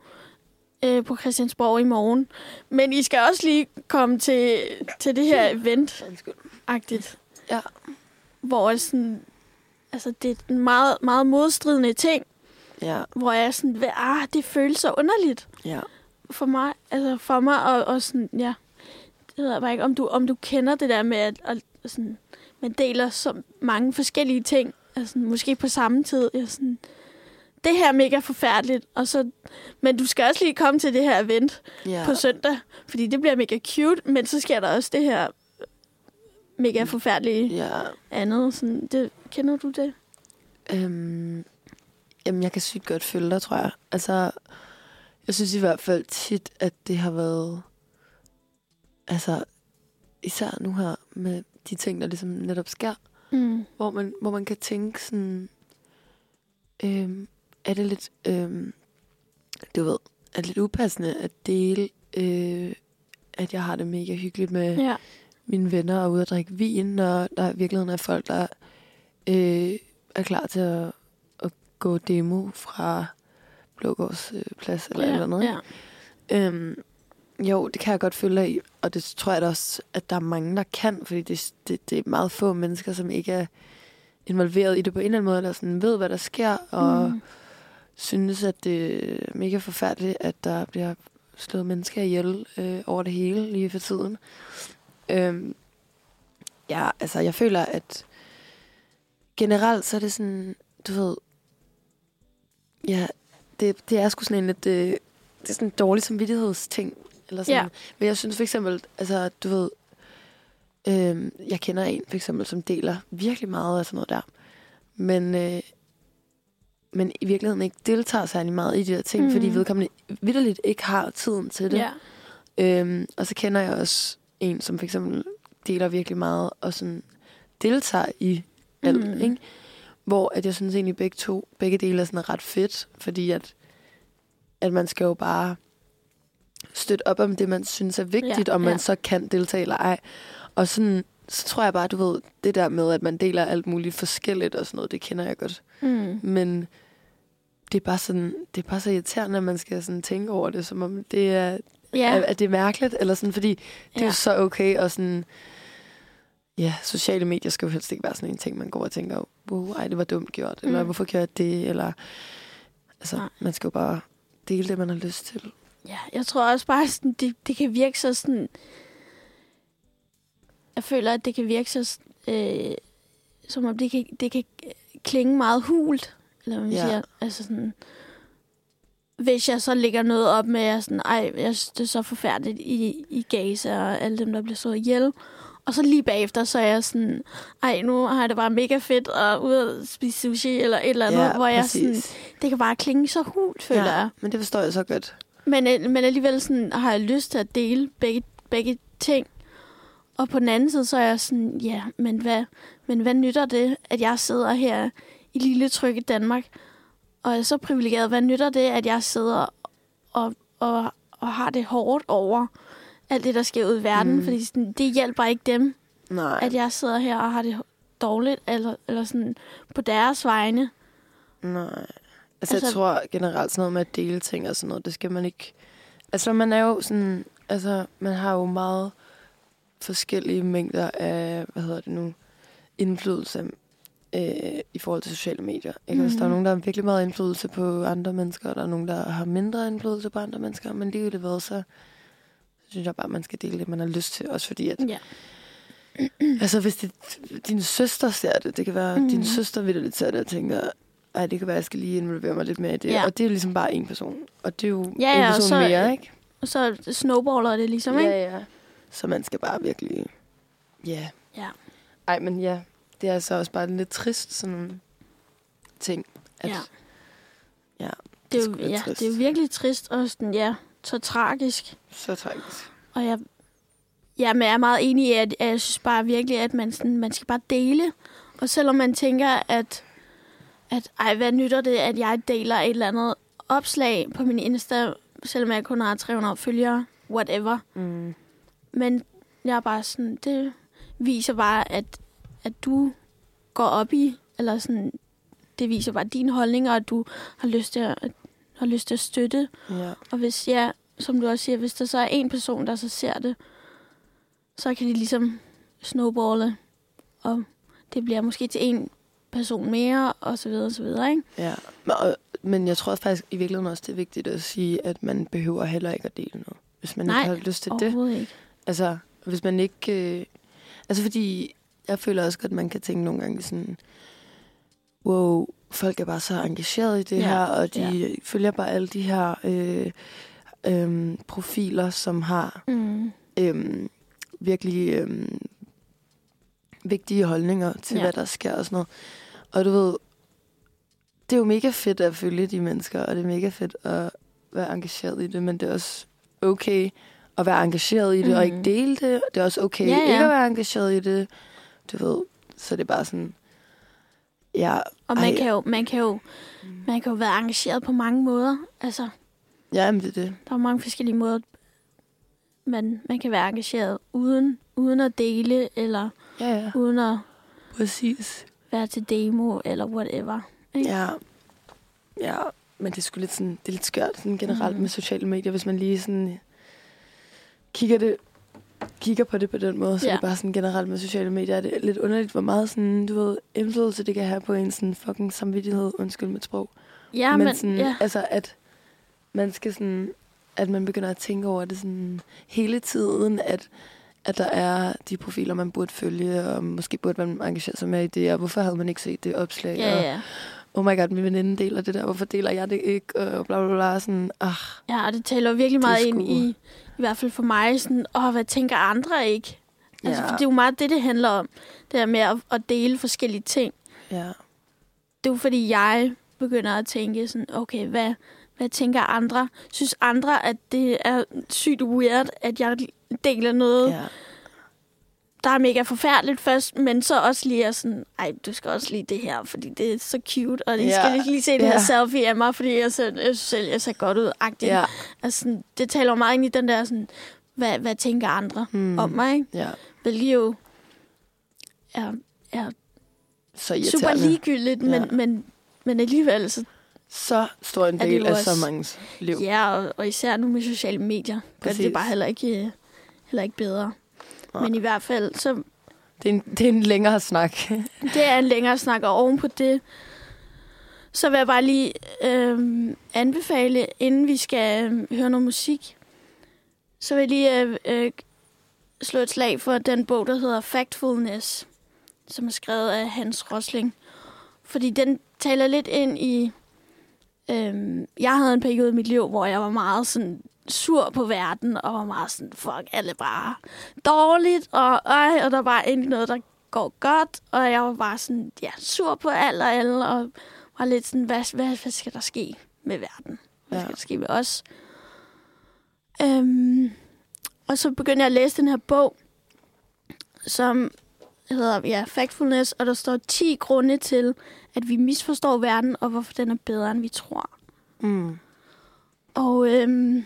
A: øh, på Christiansborg i morgen. Men I skal også lige komme til, til det her event
B: Undskyld.
A: agtigt.
B: Ja.
A: Hvor jeg sådan, altså det er en meget, meget modstridende ting,
B: Ja.
A: hvor jeg er sådan, hvad- ah, det føles så underligt
B: Ja.
A: for mig, altså for mig, og, og sådan, ja, det ved jeg bare ikke, om du, om du kender det der med, at og, sådan, man deler så mange forskellige ting, altså måske på samme tid, jeg er sådan, det her er mega forfærdeligt, og så, men du skal også lige komme til det her event,
B: Ja.
A: på søndag, fordi det bliver mega cute, men så sker der også det her mega forfærdelige
B: Ja.
A: andet. Sådan, det, kender du det?
B: Øhm, jamen, jeg kan sygt godt følge dig, tror jeg. Altså, jeg synes i hvert fald tit, at det har været... Altså, især nu her med de ting, der ligesom netop sker,
A: Mm.
B: hvor man, hvor man kan tænke sådan... Øhm, er det lidt... Øhm, du ved, er det lidt upassende at dele, øh, at jeg har det mega hyggeligt med
A: Ja.
B: mine venner og ude at drikke vin, når der i virkeligheden er folk, der øh, er klar til at, at gå demo fra Blågårds øh, plads eller ja, et eller andet.
A: ja.
B: Ja. Øhm, jo, det kan jeg godt følge dig i, og det tror jeg da også, at der er mange, der kan, fordi det, det, det er meget få mennesker, som ikke er involveret i det på en eller anden måde, eller sådan ved, hvad der sker, og mm.
A: Mm.
B: synes, at det er mega forfærdeligt, at der bliver slået mennesker ihjel øh, over det hele lige for tiden. Øhm, ja, altså, jeg føler, at generelt, så er det sådan, du ved, ja, det, det er sgu sådan en lidt, øh, det er sådan en dårlig samvittighedsting, eller sådan.
A: Ja.
B: Men jeg synes for eksempel, altså, du ved, øhm, jeg kender en, for eksempel, som deler virkelig meget af sådan noget der, men, øh, men i virkeligheden ikke deltager særlig meget i de der ting, mm. fordi
A: Mhm.
B: vedkommende vidderligt ikke har tiden til det.
A: ja.
B: Øhm, og så kender jeg også en, som for eksempel deler virkelig meget og sådan deltager i alt,
A: Mm.
B: mm. ikke? Hvor at jeg synes egentlig begge to, begge dele er sådan ret fedt, fordi at, at man skal jo bare støtte op om det, man synes er vigtigt,
A: Ja,
B: ja, om man
A: ja.
B: så kan deltage eller ej. Og sådan, så tror jeg bare, du ved, det der med, at man deler alt muligt forskelligt og sådan noget, det kender jeg godt.
A: Mm.
B: Men det er bare sådan, det er bare så irriterende, at man skal sådan tænke over det, som om det er,
A: ja.
B: at, at det er mærkeligt, eller sådan, fordi det ja. er
A: ja.
B: jo så okay, og sådan, ja, sociale medier skal jo helst ikke være sådan en ting, man går og tænker, wow, ej, det var dumt gjort, eller
A: Mm.
B: hvorfor gjorde jeg det, eller, altså,
A: Nej.
B: Nej. man skal jo bare dele det, man har lyst til.
A: Ja, jeg tror også bare, sådan, det, det kan virke så sådan... Jeg føler, at det kan virke så... Øh, som om det kan, det kan klinge meget hult, eller hvad man
B: Ja.
A: ja. siger. Altså sådan... Hvis jeg så lægger noget op med, at jeg sådan, ej, jeg synes, det er så forfærdeligt i, i Gaza og alle dem, der bliver slået ihjel. Og så lige bagefter, så er jeg sådan, ej, nu har jeg det bare mega fedt og ude at spise sushi eller et eller andet, ja, hvor jeg sådan, det kan bare klinge så hult, føler ja. jeg.
B: Men det forstår jeg så godt.
A: Men, øh, men alligevel sådan, har jeg lyst til at dele begge, begge ting. Og på den anden side, så er jeg sådan, ja, men hvad, men hvad nytter det, at jeg sidder her i lille trygge Danmark, og er så privilegeret? Hvad nytter det, at jeg sidder og, og, og har det hårdt over alt det, der sker ud i verden? Mm.
B: Mm.
A: Fordi sådan, det hjælper ikke dem,
B: Nej.
A: at jeg sidder her og har det dårligt, eller, eller sådan på deres vegne.
B: Nej. Altså, altså, jeg
A: Altså-
B: tror generelt sådan noget med at dele ting og sådan noget, det skal man ikke... Altså, man er jo sådan... Altså, man har jo meget forskellige mængder af, hvad hedder det nu, indflydelse øh, i forhold til sociale medier. Ikke? Mm-hmm. Der er
A: Mhm.
B: nogen, der har virkelig meget indflydelse på andre mennesker, og der er nogen, der har mindre indflydelse på andre mennesker, men lige det hvad, så synes jeg bare, at man skal dele det, man har lyst til, også fordi, at
A: Ja.
B: Altså, hvis det, din søster ser det, det kan være, mm.
A: Mhm.
B: din søster vil det ser det og tænker, Ej, det kan være, at jeg skal lige involvere mig lidt mere i det.
A: Ja.
B: Ja. Og det er jo ligesom bare en person. Og det er jo
A: Ja,
B: ja, en
A: ja, og
B: person
A: så-
B: så, mere, ikke?
A: Og så snowballer det ligesom, ikke?
B: ja, ja. Så man skal bare virkelig... Ja.
A: Ja.
B: Ej, men ja. Det er altså også bare en lidt trist sådan nogle ting. At,
A: Ja.
B: Ja,
A: Det
B: det
A: er,
B: skulle
A: jo,
B: være
A: ja,
B: trist.
A: det er jo virkelig trist og sådan, ja, så tragisk.
B: Så tragisk.
A: Og jeg, ja, men jeg er meget enig i, at, at jeg synes bare virkelig, at man, sådan, man skal bare dele. Og selvom man tænker, at, at ej, hvad nytter det, at jeg deler et eller andet opslag på min Insta, selvom jeg kun har 300 følgere, whatever.
B: Mm.
A: Men jeg er bare sådan, det viser bare, at, at du går op i, eller sådan, det viser bare din holdning, og at du har lyst til at, har lyst til at støtte.
B: Ja.
A: Og hvis ja, som du også siger, hvis der så er en person, der så ser det, så kan de ligesom snowballe, og det bliver måske til en person mere, og så videre, og så videre, ikke?
B: ja. Men, og, men jeg tror faktisk i virkeligheden også, det er vigtigt at sige, at man behøver heller ikke at dele noget. Hvis man
A: Nej,
B: ikke har lyst til det.
A: Overhovedet ikke.
B: Altså, hvis man ikke... Øh, altså, fordi jeg føler også godt, at man kan tænke nogle gange sådan... Wow, folk er bare så engageret i det
A: Ja,
B: ja, her, og de ja. følger bare alle de her øh, øh, profiler, som har
A: Mm.
B: øh, virkelig øh, vigtige holdninger til,
A: Ja.
B: ja. hvad der sker og sådan noget. Og du ved, det er jo mega fedt at følge de mennesker, og det er mega fedt at være engageret i det, men det er også okay at være engageret i det mm. og ikke
A: Mhm.
B: dele det. Det er også okay
A: Ja,
B: ja,
A: ja.
B: ja. ikke at være engageret i det. Du ved, så det er bare sådan, ja,
A: Og man
B: Ej.
A: kan, jo, man, kan jo, man kan jo være engageret på mange måder. Altså,
B: ja men det er det.
A: Der er mange forskellige måder, man, man kan være engageret uden, uden at dele, eller
B: Ja, ja,
A: uden at
B: præcis.
A: være til demo, eller whatever.
B: Ja. Ja, men det er sgu lidt sådan, det er lidt skørt sådan generelt
A: Mhm.
B: mm. med sociale medier, hvis man lige sådan kigger, det, kigger på det på den måde, så
A: Ja.
B: ja. det er bare sådan generelt med sociale medier, er det er lidt underligt, hvor meget sådan, du ved, indflydelse det kan have på en sådan fucking samvittighed, undskyld mit sprog.
A: Ja, men, men
B: sådan,
A: ja,
B: altså at man skal sådan, at man begynder at tænke over det sådan hele tiden, at at der er de profiler, man burde følge, og måske burde man engagere sig mere i det, og hvorfor havde man ikke set det opslag?
A: ja,
B: og,
A: ja.
B: oh my god, min veninde deler det der, hvorfor deler jeg det ikke, og bla bla bla, sådan, ah,
A: ja, og det taler jo virkelig
B: Det er
A: meget
B: sgu-
A: ind i, i hvert fald for mig, sådan, åh, hvad tænker andre ikke? Altså,
B: Ja.
A: for det er jo meget det, det handler om, det der med at, at dele forskellige ting.
B: ja,
A: Det er jo fordi, jeg begynder at tænke sådan, okay, hvad, hvad tænker andre? Synes andre, at det er sygt weird, at jeg deler noget,
B: ja,
A: der er mega forfærdeligt først, men så også lige er sådan, ej, du skal også lige det her, fordi det er så cute, og I
B: Ja.
A: skal lige, lige se det her
B: Ja.
A: selfie af mig, fordi jeg, ser, jeg synes selv, jeg ser godt ud. -agtigt.
B: ja,
A: Altså, sådan, det taler jo meget ind i den der, sådan, hvad, hvad tænker andre
B: mm,
A: mm. om mig, ikke?
B: ja,
A: hvilket jo er, er
B: så
A: super
B: irriterende.
A: ligegyldigt, men,
B: Ja.
A: men, men alligevel, så,
B: Så stor en
A: Er det
B: del
A: jo
B: af
A: også-
B: så mangens liv.
A: ja, og, og især nu med sociale medier, gør det det
B: Præcis.
A: bare heller ikke, øh, heller ikke bedre.
B: Nej.
A: Men i hvert fald, så
B: Det, er en, det er en længere snak.
A: Det er en længere snak, og oven på det, så vil jeg bare lige øh, anbefale, inden vi skal øh, høre noget musik, så vil jeg lige øh, øh, slå et slag for den bog, der hedder Factfulness, som er skrevet af Hans Rosling. Fordi den taler lidt ind i... Øh, jeg havde en periode i mit liv, hvor jeg var meget sådan sur på verden, og var meget sådan, fuck, alle bare dårligt, og, øj, og der var ikke noget, der går godt, og jeg var bare sådan, ja, sur på alt og alle, og var lidt sådan, hvad, hvad, hvad skal der ske med verden? Hvad
B: Ja.
A: skal der ske med os? Øhm, og så begyndte jeg at læse den her bog, som hedder ja, Factfulness, og der står 10 grunde til, at vi misforstår verden, og hvorfor den er bedre, end vi tror.
B: Mm.
A: Og øhm,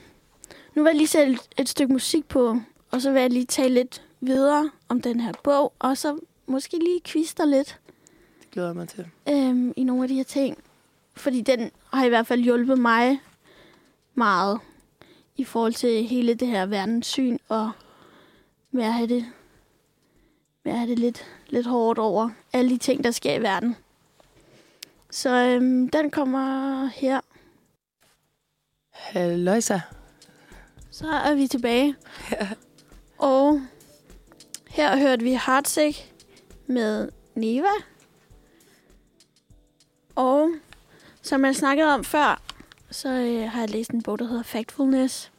A: nu vil jeg lige sætte et, et stykke musik på, og så vil jeg lige tale lidt videre om den her bog, og så måske lige kvister lidt
B: Det glæder jeg mig til.
A: øhm, i nogle af de her ting. Fordi den har i hvert fald hjulpet mig meget i forhold til hele det her verdenssyn, og med at have det, med at have det lidt, lidt hårdt over alle de ting, der sker i verden. Så øhm, den kommer her.
B: Halløjsa.
A: Så er vi tilbage. Ja. Og her hørte vi Hardsæk med Neva. Og Som jeg snakkede om før, så øh, har jeg læst en bog, der hedder Factfulness,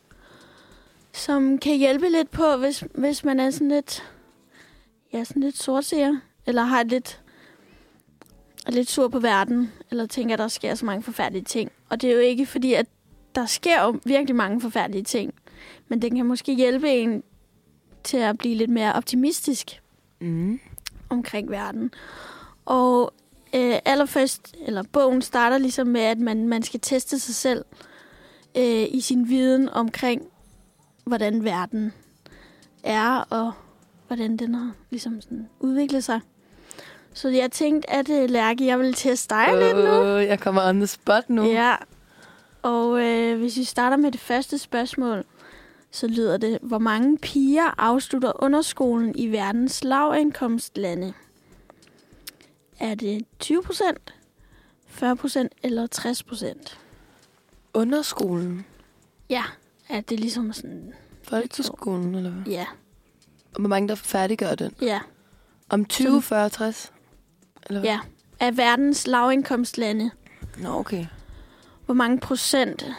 A: som kan hjælpe lidt på, hvis, hvis man er sådan lidt, ja, sådan lidt sortseer, eller har et lidt, er lidt sur på verden, eller tænker, at der sker så mange forfærdelige ting. Og det er jo ikke fordi, at der sker jo virkelig mange forfærdelige ting, men den kan måske hjælpe en til at blive lidt mere optimistisk
B: Mm.
A: omkring verden. Og øh, allerførst, eller bogen starter ligesom med, at man, man skal teste sig selv øh, i sin viden omkring, hvordan verden er, og hvordan den har ligesom sådan udviklet sig. Så jeg tænkte, at øh, Lærke, jeg vil teste dig lidt nu.
B: Åh, jeg kommer on the spot nu.
A: Ja. Og øh, hvis vi starter med det første spørgsmål, så lyder det, hvor mange piger afslutter underskolen i verdens lavindkomstlande? Er det 20 procent, 40 procent eller 60 procent?
B: Underskolen.
A: Ja, er det ligesom sådan,
B: Folkeskolen, eller hvad?
A: ja,
B: Og hvor mange, der færdiggør den?
A: ja,
B: Om 20, 40, 60? Eller hvad?
A: ja. Er verdens lavindkomstlande,
B: Nå, okay.
A: hvor mange procent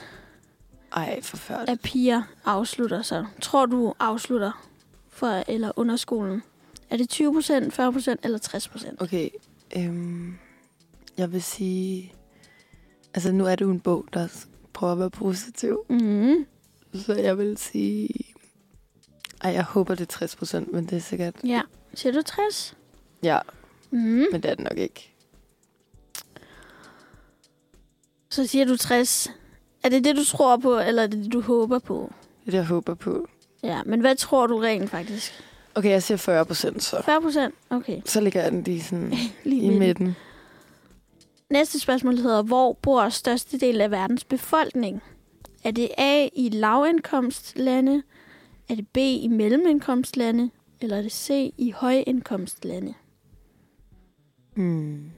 B: Ej, forfærdeligt.
A: af piger afslutter sig? Tror du afslutter for eller underskolen? Er det 20 procent, 40 procent eller 60 procent?
B: Okay, øhm, jeg vil sige... Altså, nu er det jo en bog, der s- prøver at være positiv.
A: Mm.
B: Så jeg vil sige... Ej, jeg håber, det er 60 procent, men det er sikkert...
A: Ja. Siger du 60?
B: Ja,
A: Mm.
B: men det er det nok ikke.
A: Så siger du 60. Er det det, du tror på, eller er det det, du håber på?
B: Det er det, jeg håber på.
A: Ja, men hvad tror du rent faktisk?
B: Okay, jeg siger 40 procent, så.
A: 40 procent? Okay.
B: Så ligger jeg den lige sådan
A: Lige
B: i
A: midten.
B: midten.
A: Næste spørgsmål hedder, hvor bor størstedelen af verdens befolkning? Er det A i lavindkomstlande? Er det B i mellemindkomstlande? Eller er det C i højindkomstlande?
B: Hmm.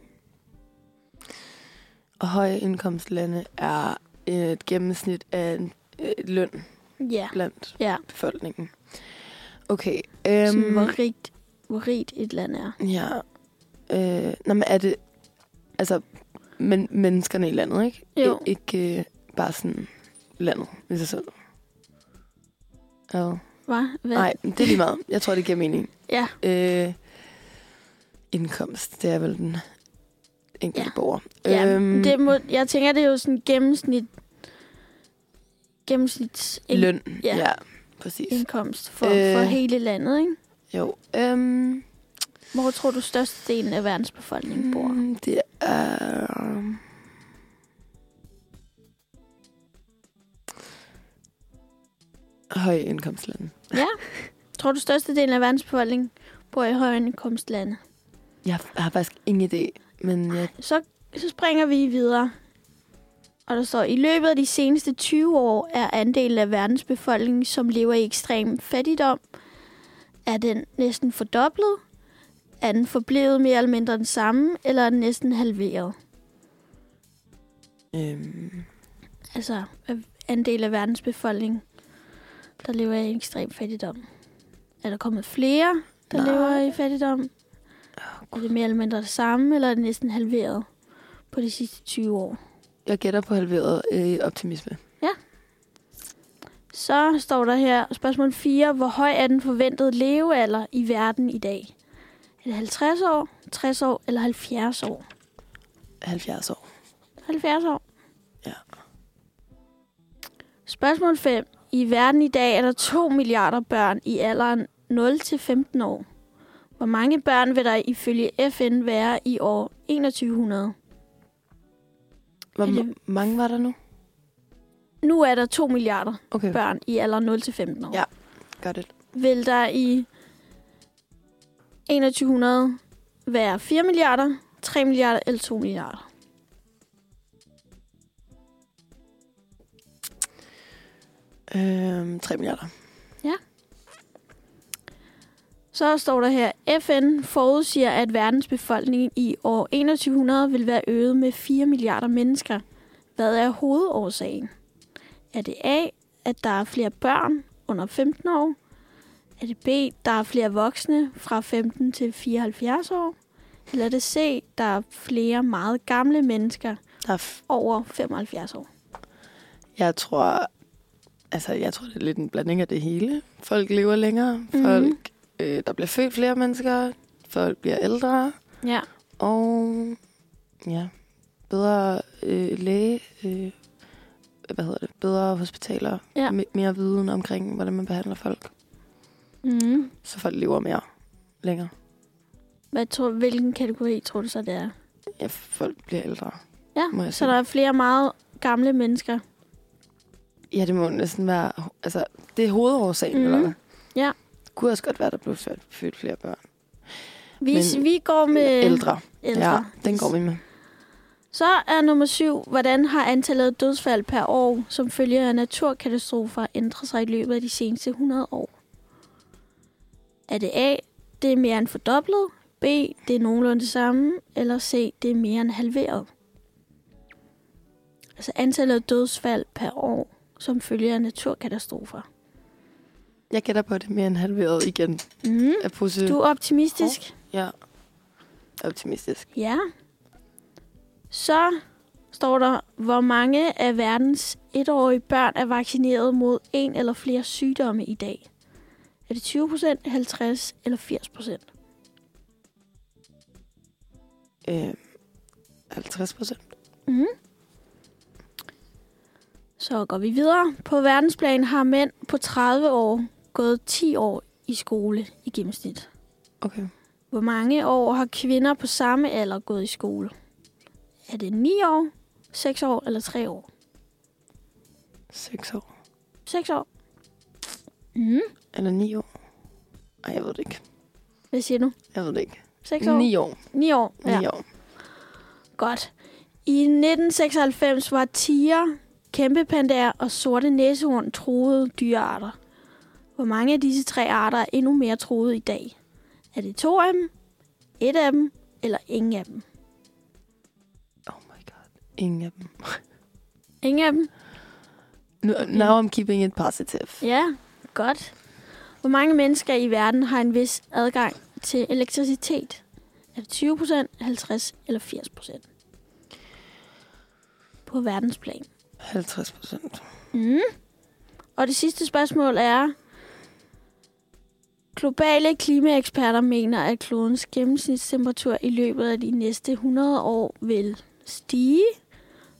B: Og høje indkomstlande er et gennemsnit af en øh, løn
A: Ja.
B: blandt
A: Ja.
B: befolkningen. Okay.
A: Sådan,
B: Øhm,
A: hvor rigt, hvor rigt et land er.
B: ja. Øh, nå, men er det... Altså, men, menneskerne i landet, ikke?
A: Jo.
B: I, ikke øh, bare sådan landet i sig selv. Ja.
A: Hva? Hvad?
B: Nej, men det er lige meget. Jeg tror, det giver mening.
A: Ja.
B: Øh, indkomst, det er vel den enkelte
A: Ja.
B: borger.
A: Ja, øhm, det må, jeg tænker, det er jo sådan gennemsnit, gennemsnits
B: Løn,
A: ja.
B: ja. ja præcis.
A: indkomst for, øh,
B: Øh.
A: for hele landet, ikke?
B: Jo. Øhm,
A: Hvor tror du størstedelen af verdens befolkning bor?
B: mm, det er... Høj indkomstlande.
A: Ja. Tror du størstedelen af verdens befolkning bor i højindkomstlande?
B: Jeg har faktisk ingen idé, men jeg...
A: Så, så springer vi videre. Og der står, i løbet af de seneste 20 år er andelen af verdens befolkning, som lever i ekstrem fattigdom, er den næsten fordoblet, er den forblevet mere eller mindre den samme, eller er den næsten halveret?
B: Øhm,
A: Altså er andel af verdens befolkning, der lever i ekstrem fattigdom. Er der kommet flere, der
B: Nej.
A: Nej. lever i fattigdom? Er det mere eller mindre det samme, eller er det næsten halveret på de sidste 20 år?
B: jeg gætter på halveret øh, optimisme.
A: Så står der her spørgsmål 4. Hvor høj er den forventede levealder i verden i dag? Er det 50 år, 60 år eller 70 år?
B: 70 år.
A: 70 år.
B: Ja.
A: Spørgsmål 5. I verden i dag er der 2 milliarder børn i alderen 0-15 år. Hvor mange børn vil der ifølge FN være i år 2100?
B: Hvor
A: Er det-
B: ma- mange var der nu?
A: Nu er der 2 milliarder
B: Okay,
A: børn i alderen 0-15 år.
B: Ja. gør det.
A: Vil der i 2100 være 4 milliarder, 3 milliarder eller 2 milliarder?
B: Øhm, 3 milliarder.
A: Så står der her, FN forudsiger, at verdens befolkning i år 2100 vil være øget med 4 milliarder mennesker. Hvad er hovedårsagen? Er det A, at der er flere børn under 15 år? Er det B, der er flere voksne fra 15 til 74 år? Eller er det C, der er flere meget gamle mennesker
B: Der er f-
A: over 75 år.
B: jeg tror, altså, jeg tror, det er lidt en blanding af det hele. Folk lever længere. Folk, øh, der bliver født flere mennesker. Folk bliver ældre.
A: Ja.
B: Og ja, bedre øh, læge, øh, hvad hedder det, bedre hospitaler,
A: Ja.
B: me- mere viden omkring, hvordan man behandler folk,
A: Mm.
B: så folk lever mere længere.
A: Hvad tror, hvilken kategori tror du så, det er?
B: Ja, folk bliver ældre. Må
A: Ja,
B: jeg
A: så
B: sige.
A: der er flere meget gamle mennesker.
B: Ja, det må næsten være, altså, det er hovedårsagen, mm.
A: Mhm.
B: eller hvad?
A: Ja.
B: Det kunne også godt være, der blev født, født flere børn.
A: Vi,
B: Men-
A: vi går med
B: ældre.
A: ældre.
B: Ja, den går vi med.
A: Så er nummer syv, hvordan har antallet af dødsfald per år, som følger af naturkatastrofer, ændret sig i løbet af de seneste 100 år? Er det A, det er mere end fordoblet, B, det er nogenlunde det samme, eller C, det er mere end halveret? Altså antallet af dødsfald per år, som følger af naturkatastrofer.
B: Jeg gætter på, at det er mere end halveret igen.
A: Mm.
B: Er positiv.
A: Du er optimistisk?
B: Ja. Optimistisk.
A: Ja. Så står der, hvor mange af verdens etårige børn er vaccineret mod en eller flere sygdomme i dag. Er det 20 procent, 50 eller 80 procent?
B: Øh, 50 procent.
A: Mm. Så går vi videre. På verdensplan har mænd på 30 år gået 10 år i skole i gennemsnit.
B: Okay.
A: Hvor mange år har kvinder på samme alder gået i skole? Er det 9 år, 6 år eller 3 år?
B: 6 år.
A: 6 år. Mm.
B: Eller 9 år. Nej, jeg ved det ikke.
A: Hvad siger du?
B: Jeg ved det ikke.
A: 6 år? 9,
B: 9 år.
A: 9 år.
B: 9
A: Ja.
B: år.
A: Godt. I 1996 var tiger, kæmpepandaer og sorte næsehorn troede dyrearter. Hvor mange af disse tre arter er endnu mere troede i dag? Er det to af dem, et af dem eller ingen af dem?
B: Oh my god. Ingen af dem.
A: Ingen af dem?
B: Nu, now I'm keeping it positive.
A: Ja, godt. Hvor mange mennesker i verden har en vis adgang til elektricitet? Er det 20 procent, 50 eller 80 procent? På verdensplan.
B: 50 procent.
A: Mm. Og det sidste spørgsmål er, globale klimaeksperter mener, at klodens gennemsnitstemperatur i løbet af de næste 100 år vil stige,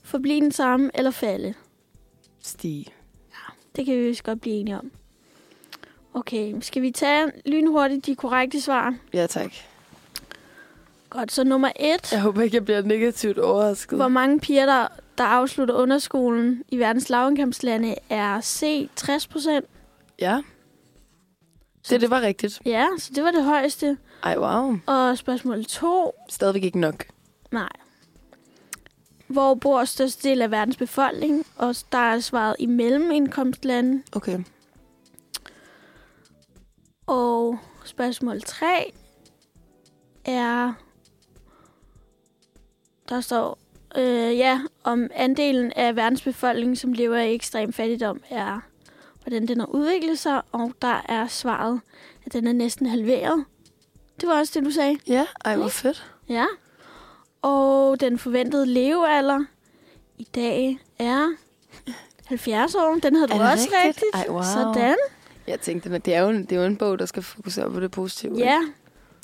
A: forblive den samme eller falde.
B: Stige.
A: Det kan vi vist godt blive enige om. Okay, skal vi tage lynhurtigt de korrekte svar?
B: Ja, tak.
A: Godt, så nummer et.
B: Jeg håber ikke, jeg bliver negativt overrasket.
A: Hvor mange piger, der, der afslutter underskolen i verdens lavindkomstlande, er C 60 procent.
B: Ja. Det, det var rigtigt.
A: Ja, så det var det højeste.
B: Ej, wow.
A: Og spørgsmål 2.
B: Stadigvæk ikke nok.
A: Nej. Hvor bor største del af verdens befolkning? Og der er svaret i mellemindkomstlande.
B: Okay.
A: Og spørgsmål 3 er... Der står, øh, ja, om andelen af verdens befolkning, som lever i ekstrem fattigdom, er, hvordan den har udviklet sig, og der er svaret, at den er næsten halveret. Det var også det, du sagde.
B: Ja, ej, hvor fedt.
A: Ja. Og den forventede levealder i dag er 70 år. Den havde du
B: Er det
A: også
B: rigtigt?
A: rigtigt.
B: Ej, wow.
A: Sådan.
B: Jeg tænkte, men det er, jo en, det er jo en bog, der skal fokusere på det positive. ikke?
A: Ja.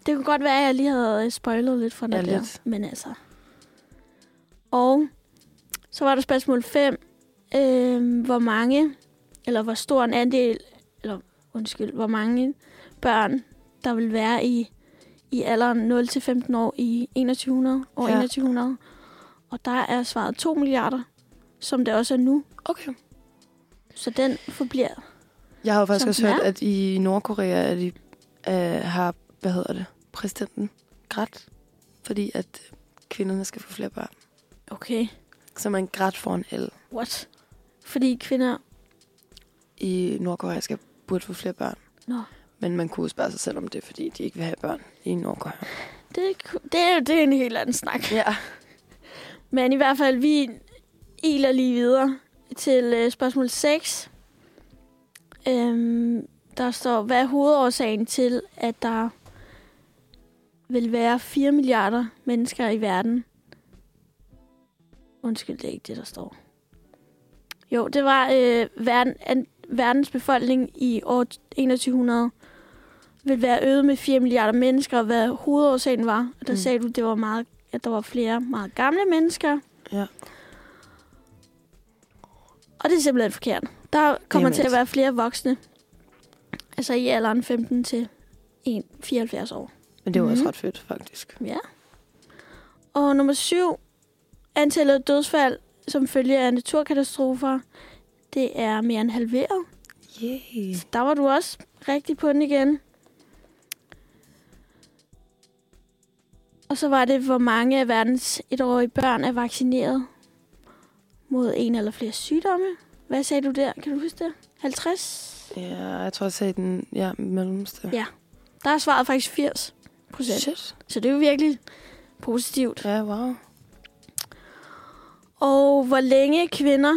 A: Det kunne godt være, at jeg lige havde øh, spoilet lidt for
B: Ja,
A: noget ja, der.
B: lidt.
A: Men altså. Og så var der spørgsmål 5. Øhm, hvor mange, eller hvor stor en andel, eller undskyld, hvor mange børn, der vil være i, i alderen 0-15 år i 2100, år
B: Ja.
A: ja. 2100. Og der er svaret 2 milliarder, som det også er nu.
B: Okay.
A: Så den forbliver.
B: Jeg har jo faktisk
A: Som
B: også
A: den
B: hørt,
A: er.
B: at i Nordkorea at de, øh, har, hvad hedder det, præsidenten grædt, fordi at kvinderne skal få flere børn.
A: Okay.
B: Så man grædt for en el
A: What? Fordi kvinder...
B: i Nordkorea skal burde få flere børn.
A: Nå.
B: Men man kunne jo spørge sig selv om det, er, fordi de ikke vil have børn i Nordkorea.
A: Det, ku- det, er jo- det er en helt anden snak.
B: Ja.
A: Men i hvert fald, vi iler lige videre til øh, spørgsmål 6. Øhm, der står, hvad er hovedårsagen til, at der vil være 4 milliarder mennesker i verden Undskyld, det er ikke det, der står. Jo, det var øh, verden, an, verdens befolkning i år 2100 ville være øget med 4 milliarder mennesker, og hvad hovedårsagen var. Og der
B: Mm.
A: mm. sagde du, det var meget, at der var flere meget gamle mennesker.
B: Ja.
A: Og det er simpelthen forkert. Der kommer
B: Jamen
A: til at
B: altså.
A: være flere voksne. Altså i alderen 15 til 1, 74 år.
B: Men det var også
A: Mhm.
B: ret fedt, faktisk.
A: Ja. Og nummer syv, antallet af dødsfald som følge af naturkatastrofer, det er mere end halveret.
B: Yeah.
A: Så der var du også rigtig på den igen. Og så var det, hvor mange af verdens etårige børn er vaccineret mod en eller flere sygdomme. Hvad sagde du der? Kan du huske det? 50?
B: Ja, jeg tror, jeg sagde den ja, mellemste.
A: Ja. Der er svaret faktisk 80 procent.
B: Shit.
A: Så det er jo virkelig positivt.
B: Ja, wow.
A: Og hvor længe kvinder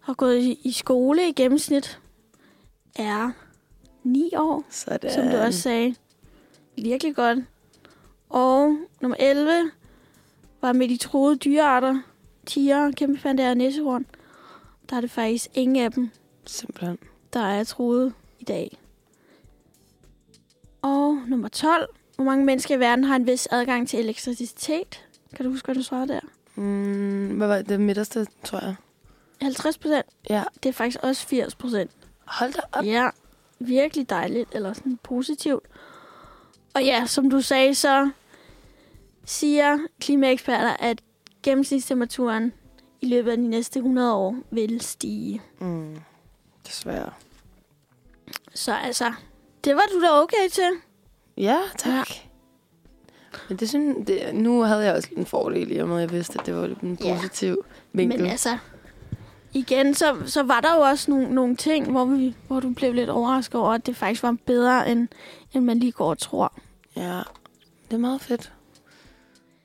A: har gået i- i skole i gennemsnit er 9 år,
B: Sådan.
A: som du også sagde. Virkelig godt. Og nummer 11 var med de troede dyrearter, tiger, kæmpe pandaer og næsehorn. Der er det faktisk ingen af dem,
B: Simpelthen.
A: der er troet i dag. Og nummer 12. Hvor mange mennesker i verden har en vis adgang til elektricitet? Kan du huske, hvad du svarede der?
B: Mm, hvad var det midterste, tror jeg?
A: 50 procent.
B: Ja.
A: Det er faktisk også 80 procent.
B: Hold da op.
A: Ja, virkelig dejligt, eller sådan positivt. Og ja, som du sagde, så siger klimaeksperter, at gennemsnitstemperaturen i løbet af de næste 100 år vil stige.
B: Mm. Desværre.
A: Så altså, det var du da okay til.
B: Ja, tak. Men det synes, det, nu havde jeg også en fordel i og med, at jeg vidste, at det var en
A: Ja.
B: positiv vinkel.
A: Men altså, igen, så, så var der jo også nogle, nogle ting, hvor, vi, hvor du blev lidt overrasket over, at det faktisk var bedre, end, end man lige går og tror.
B: Ja, det er meget fedt.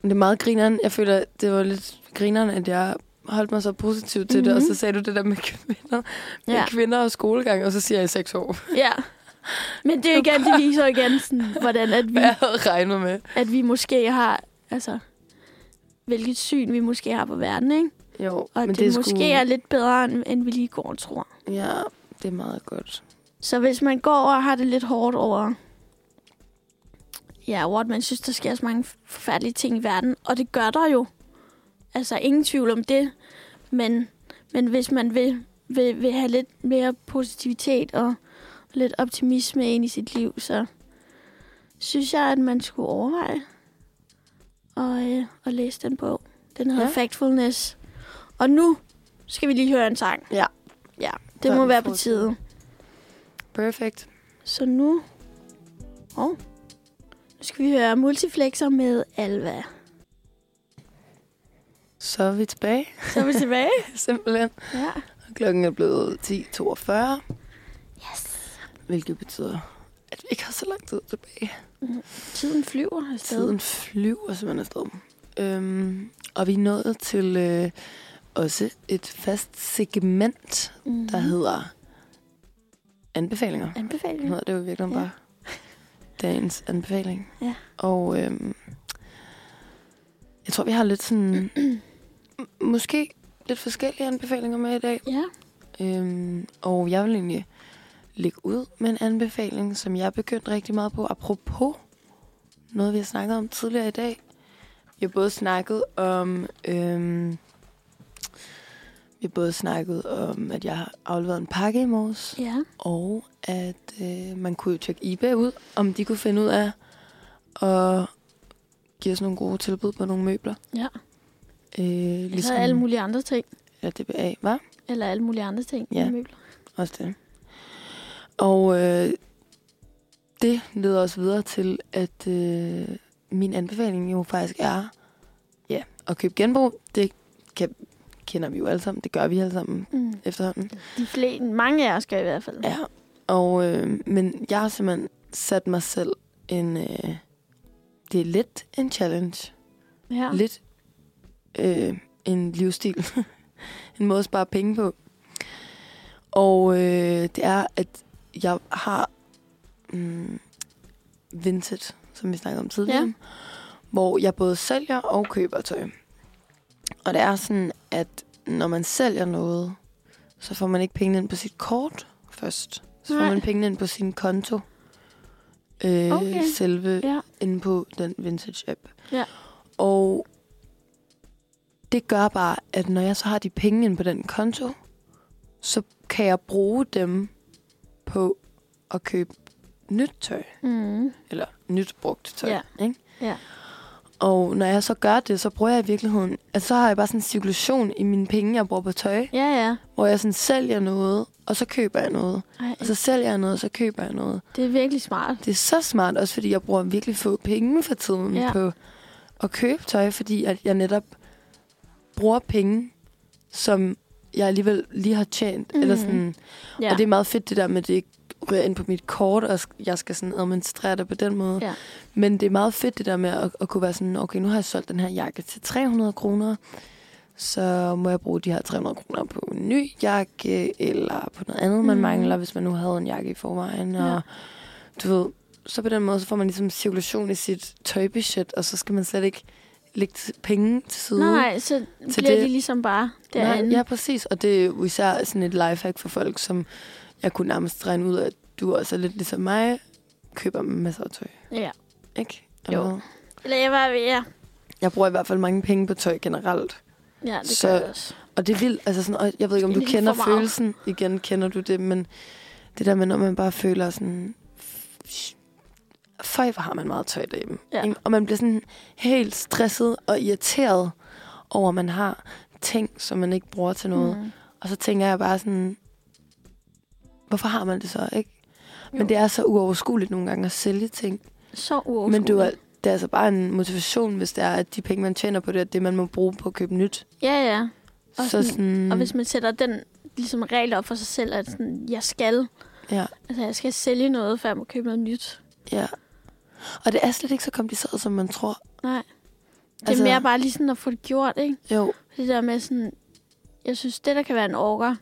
B: Men det er meget grineren. Jeg føler, det var lidt grineren, at jeg holdt mig så positivt til mm-hmm. det, og
A: Mhm.
B: så sagde du det der med kvinder, med
A: Ja. Mhm.
B: kvinder og skolegang, og så siger jeg i seks år,
A: Ja. Men det er jo igen, det viser jo igen, sådan, hvordan at vi
B: hvad jeg havde regnet med.
A: at vi måske har, altså, hvilket syn vi måske har på verden, ikke?
B: Jo,
A: Og
B: men
A: det,
B: det er
A: det måske
B: sgu,
A: er lidt bedre, end, end vi lige går og tror.
B: Ja, det er meget godt.
A: Så hvis man går og har det lidt hårdt over, ja, over at man synes, der sker så mange forfærdelige ting i verden, og det gør der jo. Altså, ingen tvivl om det. Men, men hvis man vil, vil, vil have lidt mere positivitet og lidt optimisme ind i sit liv, så synes jeg, at man skulle overveje at, øh, at læse den bog. Den hedder
B: Ja.
A: ja. Factfulness. Og nu skal vi lige høre en sang.
B: Ja.
A: Ja,
B: Der
A: det
B: er
A: må
B: vi
A: være på
B: fortsat.
A: tide.
B: Perfekt.
A: Så nu... Oh. Nu skal vi høre Multiflexer med Alva.
B: Så er vi tilbage,
A: Så er vi tilbage.
B: simpelthen.
A: ja.
B: Klokken er blevet 10.42.
A: Yes.
B: Hvilket betyder, at vi ikke har så lang tid tilbage.
A: Tiden flyver afsted.
B: Tiden flyver simpelthen afsted. Øhm, og vi er nået til øh, også et fast segment,
A: Mm-hmm.
B: der hedder anbefalinger. Det
A: Anbefalinger.
B: hedder det jo virkelig bare
A: Ja.
B: dagens anbefaling.
A: Ja.
B: Og øhm, jeg tror, vi har lidt sådan... m- måske lidt forskellige anbefalinger med i dag.
A: Ja.
B: Øhm, og jeg vil egentlig lægge ud med en anbefaling, som jeg er begyndt rigtig meget på. Apropos noget, vi har snakket om tidligere i dag. Vi har både snakket om... Øhm, vi har både snakket om, at jeg har afleveret en pakke i morges.
A: Ja.
B: Og at øh, man kunne jo tjekke eBay ud, om de kunne finde ud af at give os nogle gode tilbud på nogle møbler.
A: Ja.
B: Øh,
A: Ligesom...
B: ligesom
A: Eller alle mulige andre ting.
B: ja, DBA, var
A: Eller alle mulige andre ting.
B: Ja.
A: Møbler.
B: Også det. Og øh, det leder os videre til, at øh, min anbefaling jo faktisk er ja, at købe genbrug. Det kan, kender vi jo alle sammen. Det gør vi alle sammen
A: Mm.
B: efterhånden.
A: De flere, mange af os gør i hvert fald.
B: Ja, og, øh, men jeg har simpelthen sat mig selv en... Øh, det er lidt en challenge.
A: ja.
B: Ja. Lidt øh, en livsstil. en måde at spare penge på. Og øh, det er, at jeg har mm, Vinted, som vi snakkede om tidligere, ja.
A: Ja.
B: hvor jeg både sælger og køber tøj. Og det er sådan, at når man sælger noget, så får man ikke pengene ind på sit kort først. Så får
A: Nej.
B: man pengene ind på sin konto.
A: Okay.
B: Øh, okay. Selve
A: Ja.
B: inde på den vintage-app.
A: Ja.
B: Og det gør bare, at når jeg så har de penge inde på den konto, så kan jeg bruge dem på at købe nyt tøj.
A: Mm.
B: Eller nyt brugt tøj.
A: Ja.
B: Ikke?
A: Ja.
B: Og når jeg så gør det, så bruger jeg i virkeligheden... Altså, så har jeg bare sådan en cirkulation i mine penge, jeg bruger på tøj.
A: Ja, ja.
B: Hvor jeg sådan sælger noget, og så køber jeg noget.
A: Ej,
B: Og så sælger jeg noget, og så køber jeg noget.
A: det er virkelig smart.
B: Det er så smart, også fordi jeg bruger virkelig få penge for tiden
A: Ja.
B: ja. på at købe tøj, fordi at jeg netop bruger penge, som jeg alligevel lige har tjent. Mm. Eller
A: Mhm.
B: sådan.
A: Ja.
B: Ja. Og det er meget fedt, det der med, at det ikke ryger ind på mit kort, og sk- jeg skal sådan administrere det på den måde.
A: Ja.
B: Men det er meget fedt, det der med at, at kunne være sådan, okay, nu har jeg solgt den her jakke til 300 kroner, så må jeg bruge de her 300 kroner på en ny jakke, eller på noget andet, man
A: Mm.
B: mangler, hvis man nu havde en jakke i forvejen. Ja.
A: Ja.
B: Og du ved, så på den måde, så får man ligesom cirkulation i sit tøjbudget, og så skal man slet ikke lægge t- penge til side.
A: Nej, så
B: Til
A: bliver
B: det-
A: de ligesom bare
B: Nej,
A: derinde.
B: ja, præcis. Og det er jo især sådan et lifehack for folk, som jeg kunne nærmest regne ud af, at du også er lidt ligesom mig, køber masser af tøj,
A: ja.
B: ikke?
A: Jo.
B: Eller-
A: Eller jeg var ved ja.
B: Jeg bruger i hvert fald mange penge på tøj generelt.
A: Ja, det
B: Så-
A: gør jeg også.
B: Og det er vildt, altså sådan, og jeg ved ikke, om
A: Det er
B: du
A: lidt
B: kender
A: for meget.
B: følelsen. Igen kender du det, men det der med, når man bare føler sådan... Føj, hvor har man meget tøj derhjemme.
A: Ja.
B: Ikke? Og man bliver sådan helt stresset og irriteret over, at man har ting, som man ikke bruger til noget.
A: Mm.
B: Og så tænker jeg bare sådan, hvorfor har man det så, ikke? Men
A: Jo.
B: det er så uoverskueligt nogle gange at sælge ting.
A: Så
B: Men
A: uoverskueligt.
B: det er, det er altså bare en motivation, hvis det er, at de penge, man tjener på det, er det, man må bruge på at købe nyt.
A: Ja, ja. Og
B: så
A: sådan-
B: sådan,
A: Og hvis man sætter den ligesom regel op for sig selv, at sådan, jeg skal,
B: ja,
A: altså, jeg skal sælge noget, før jeg må købe noget nyt.
B: ja. Og det er slet ikke så kompliceret, som man tror.
A: Nej. Det er
B: Altså-
A: altså... mere bare lige sådan at få det gjort, ikke?
B: Jo,
A: Det der med sådan, jeg synes, det der kan være en orker,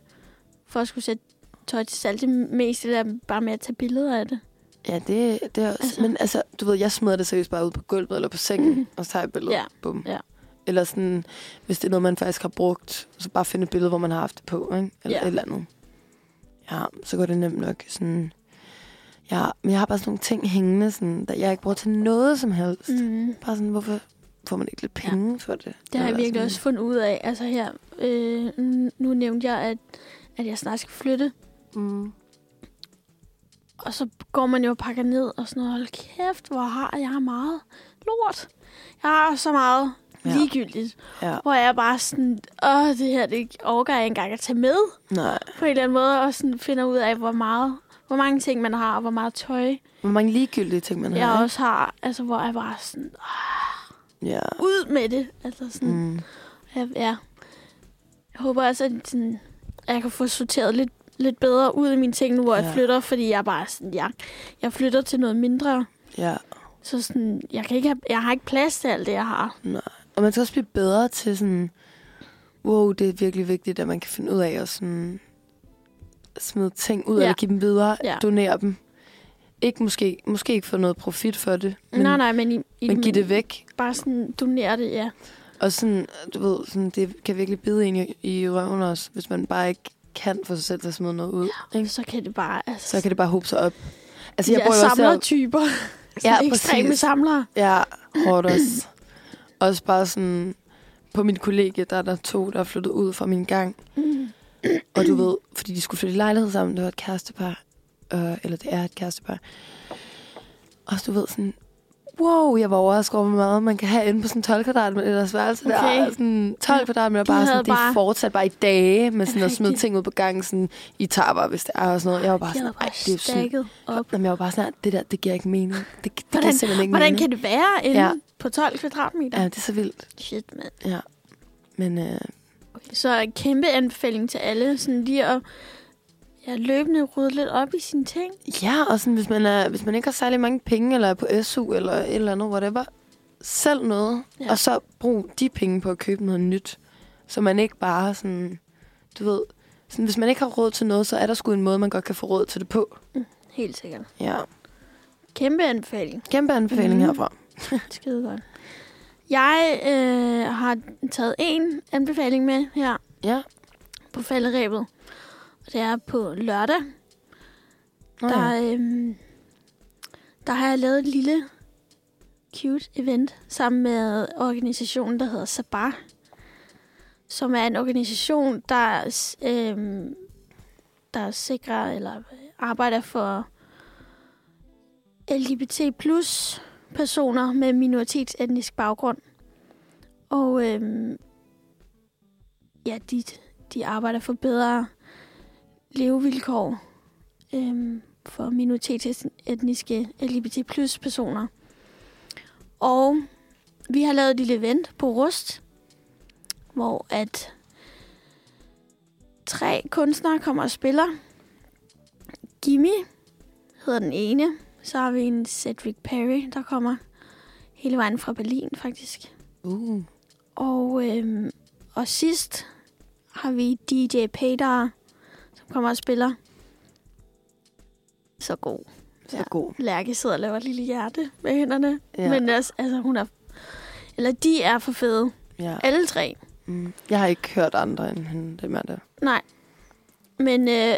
A: for at skulle sætte tøj til salg, det er mest det der bare med at tage billeder af det.
B: ja, det, det er også...
A: Altså. Mhm.
B: Altså. Men altså, du ved, jeg smider det seriøst bare ud på gulvet eller på sengen, mm. og så tager jeg et billede.
A: Ja,
B: Bum.
A: ja.
B: Eller sådan, hvis det er noget, man faktisk har brugt, så bare finde et billede, hvor man har haft det på, ikke? Eller
A: Ja.
B: ja. et eller andet. Ja, så går det nemt nok. Sådan, ja, men jeg har bare sådan nogle ting hængende, sådan, der jeg ikke bruger til noget som helst. Mm.
A: Mm.
B: Bare sådan, hvorfor får man ikke lidt
A: Ja.
B: penge ja. for det?
A: Det har jeg
B: Eller
A: virkelig
B: sådan-
A: også fundet ud af. Altså her, øh, n- nu nævnte jeg, at, at jeg snart skal flytte,
B: Mm.
A: og så går man jo og pakker ned og sådan noget. Hold kæft, hvor har jeg meget lort. Jeg har så meget
B: Ja.
A: ligegyldigt.
B: Ja,
A: Hvor jeg bare sådan, åh, det her, det overgår jeg ikke engang at tage med
B: nej.
A: på en eller anden måde, og sådan finder ud af, hvor meget hvor mange ting man har, og hvor meget tøj
B: Hvor mange ligegyldige ting, man
A: jeg
B: har.
A: også har. Altså, hvor jeg bare sådan,
B: ikke? Ja.
A: ud med det. Altså sådan, mm.
B: Mm.
A: jeg, ja. jeg håber også, at, sådan, at jeg kan få sorteret lidt, lidt bedre ud af mine ting nu, hvor ja. jeg
B: Ja.
A: flytter, fordi jeg bare sådan, jeg, jeg flytter til noget mindre.
B: Ja.
A: Så sådan, jeg, kan ikke have, jeg har ikke plads til alt det, jeg har.
B: Og man skal også blive bedre til sådan, wow, det er virkelig vigtigt, at man kan finde ud af at sådan, smide ting ud,
A: Ja.
B: ja. eller give dem videre,
A: Ja.
B: ja. donere dem. Ikke måske, måske ikke få noget profit for det,
A: Men,
B: men,
A: nej, nej, men, i, i,
B: men give det væk.
A: bare sådan donere det, ja.
B: Og sådan, du ved, sådan, det kan virkelig bide en i, i røven også, hvis man bare ikke kan få sig selv til at smide noget ud. Ikke?
A: Så kan det bare, altså,
B: Så kan det bare hobe sig op. Altså,
A: de
B: jeg,
A: der
B: bruger jo også det her-
A: samlertyper. Sådan ekstreme
B: præcis.
A: samlere.
B: Ja, hårdt også. også bare sådan, på mit kollegie, der er der to, der er flyttet ud fra min gang. og du ved, fordi de skulle flytte i lejlighed sammen, det var et kærestepar. Øh, eller det er et kærestepar. Og så du ved sådan, wow, jeg var overrasket over, hvor meget man kan have inde på sådan 12 kvadratmeters værelse okay.
A: Okay.
B: der. Sådan 12 kvadratmeter
A: De
B: bare
A: havde
B: sådan, det er
A: bare-
B: fortsat bare i dage med sådan at smide
A: rigtigt?
B: ting ud på gangen, sådan i tapper, hvis det er og sådan noget. Jeg var bare
A: De
B: sådan,
A: har
B: "Ej,
A: bare
B: det er sådan,
A: stakket op.
B: Jamen, jeg var bare sådan, det der, det giver ikke mening. Det, det
A: Hvordan-
B: giver simpelthen ikke
A: Hvordan
B: mening.
A: kan det være inde ja.
B: Ja.
A: på 12 kvadratmeter?
B: Ja,
A: Ja.
B: det er så vildt.
A: Shit, mand.
B: Ja. Men øh,
A: Okay, så en kæmpe anbefaling til alle, sådan lige at ja, løbende rydde lidt op i sine ting.
B: ja, og sådan, hvis, man er, hvis man ikke har særlig mange penge, eller er på SU, eller et eller andet, whatever, selv noget,
A: Ja.
B: ja. og så brug de penge på at købe noget nyt, så man ikke bare sådan, du ved, sådan, hvis man ikke har råd til noget, så er der sgu en måde, man godt kan få råd til det på.
A: Helt sikkert.
B: Ja,
A: Kæmpe anbefaling.
B: kæmpe anbefaling
A: Mhm.
B: mm. herfra.
A: Skide godt. Jeg øh, har taget en anbefaling med her
B: Ja.
A: på falderæbet. Og det er på lørdag.
B: Nå ja.
A: Der, øh, der har jeg lavet et lille cute event sammen med organisationen, der hedder Sabar. Som er en organisation, der, øh, der sikrer eller arbejder for LGBT plus personer med minoritetsetnisk baggrund. Og øh, ja, de, de arbejder for bedre levevilkår øhm, for minoritetsetniske LGBT plus personer. Og vi har lavet et lille event på Rust, hvor at tre kunstnere kommer og spiller. Gimme hedder den ene. Så har vi en Cedric Perry, der kommer hele vejen fra Berlin faktisk.
B: Uh.
A: Og, øhm, og sidst har vi DJ Peter, som kommer og spiller. Så god.
B: Så
A: Ja.
B: god.
A: Lærke sidder og laver et lille hjerte med hænderne.
B: Ja.
A: Ja. Men også, altså, hun er... Eller de er for fede.
B: Ja.
A: Alle tre.
B: Mm. Jeg har ikke hørt andre end han, det mand der.
A: Nej. Men øh, øh,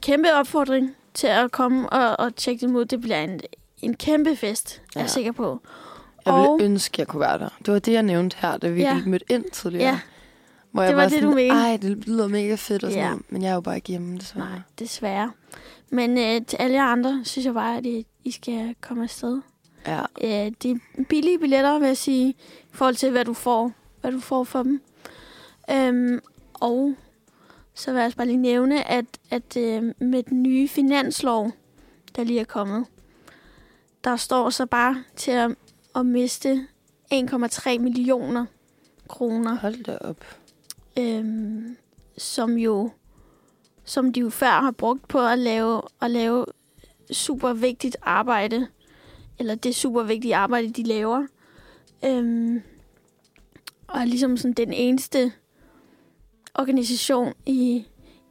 A: kæmpe opfordring til at komme og, og tjekke dem ud. Det bliver en, en kæmpe fest, ja. er
B: Ja.
A: jeg sikker på.
B: Jeg ville
A: Og-
B: ønske, jeg kunne være der. Det var det, jeg nævnte her, da vi
A: Ja.
B: ja. mødte ind tidligere.
A: Ja.
B: Hvor
A: Det
B: jeg
A: var
B: var
A: det,
B: sådan,
A: du mente.
B: Ej, det lyder mega fedt og sådan
A: Ja.
B: noget. Men jeg er jo bare ikke hjemme, desværre.
A: Nej, desværre. Men øh, til alle jer andre, synes jeg bare, at I, I skal komme afsted.
B: Ja.
A: Øh, det er billige billetter, vil jeg sige, i forhold til, hvad du får, hvad du får for dem. Øhm, og så vil jeg også bare lige nævne, at, at øh, med den nye finanslov, der lige er kommet, der står så bare til at, at miste 1,3 millioner kroner,
B: Hold da op.
A: øhm, som jo som de jo før har brugt på at lave, at lave super vigtigt arbejde, eller det super vigtige arbejde, de laver. Øhm, og er ligesom sådan den eneste organisation i,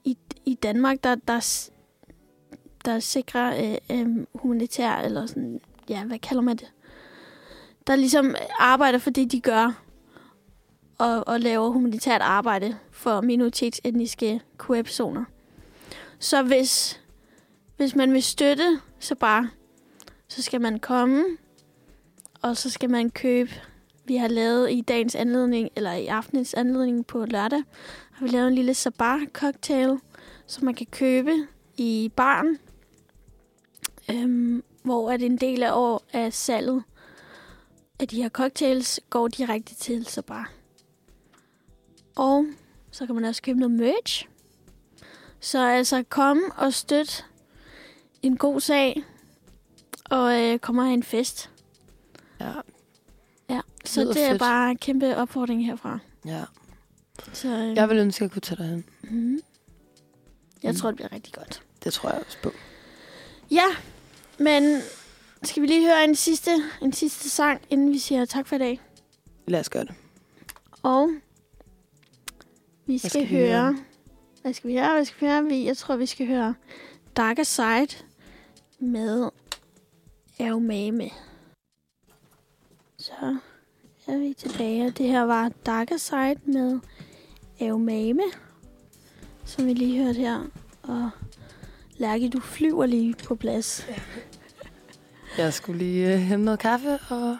A: i, i Danmark, der, der, s- der sikrer øh, øh, humanitær, eller sådan, ja, hvad kalder man det? Der ligesom arbejder for det, de gør, og, og laver humanitært arbejde for minoritetsetniske queer-personer. Så hvis, hvis man vil støtte, så bare, så skal man komme, og så skal man købe. Vi har lavet i dagens anledning, eller i aftenens anledning på lørdag, har vi lavet en lille sabar-cocktail, som man kan købe i baren, øhm, hvor at en del af, år af salget af de her cocktails går direkte til sabar. Og så kan man også købe noget merch. Så altså kom og støt en god sag, og øh, kom og have en fest.
B: Ja.
A: Ja, så
B: lyder
A: det er
B: fedt.
A: bare en kæmpe opfordring herfra.
B: ja.
A: Så øh,
B: Jeg ville ønske, jeg kunne tage dig hen.
A: mm, jeg
B: Mm.
A: tror, det bliver rigtig godt.
B: Det tror jeg også på.
A: Ja, men skal vi lige høre en sidste, en sidste sang, inden vi siger tak for i dag?
B: Lad os gøre det.
A: Og vi skal,
B: skal vi
A: skal høre... høre... Hvad skal vi høre? Hvad skal vi høre? Vi- Jeg tror, vi skal høre Darker Side med Aumame. Så er vi tilbage, og det her var Darker Side med Aumame, som vi lige hørte her. Og Lærke, du flyver lige på plads.
B: Jeg skulle lige øh, hente noget kaffe, og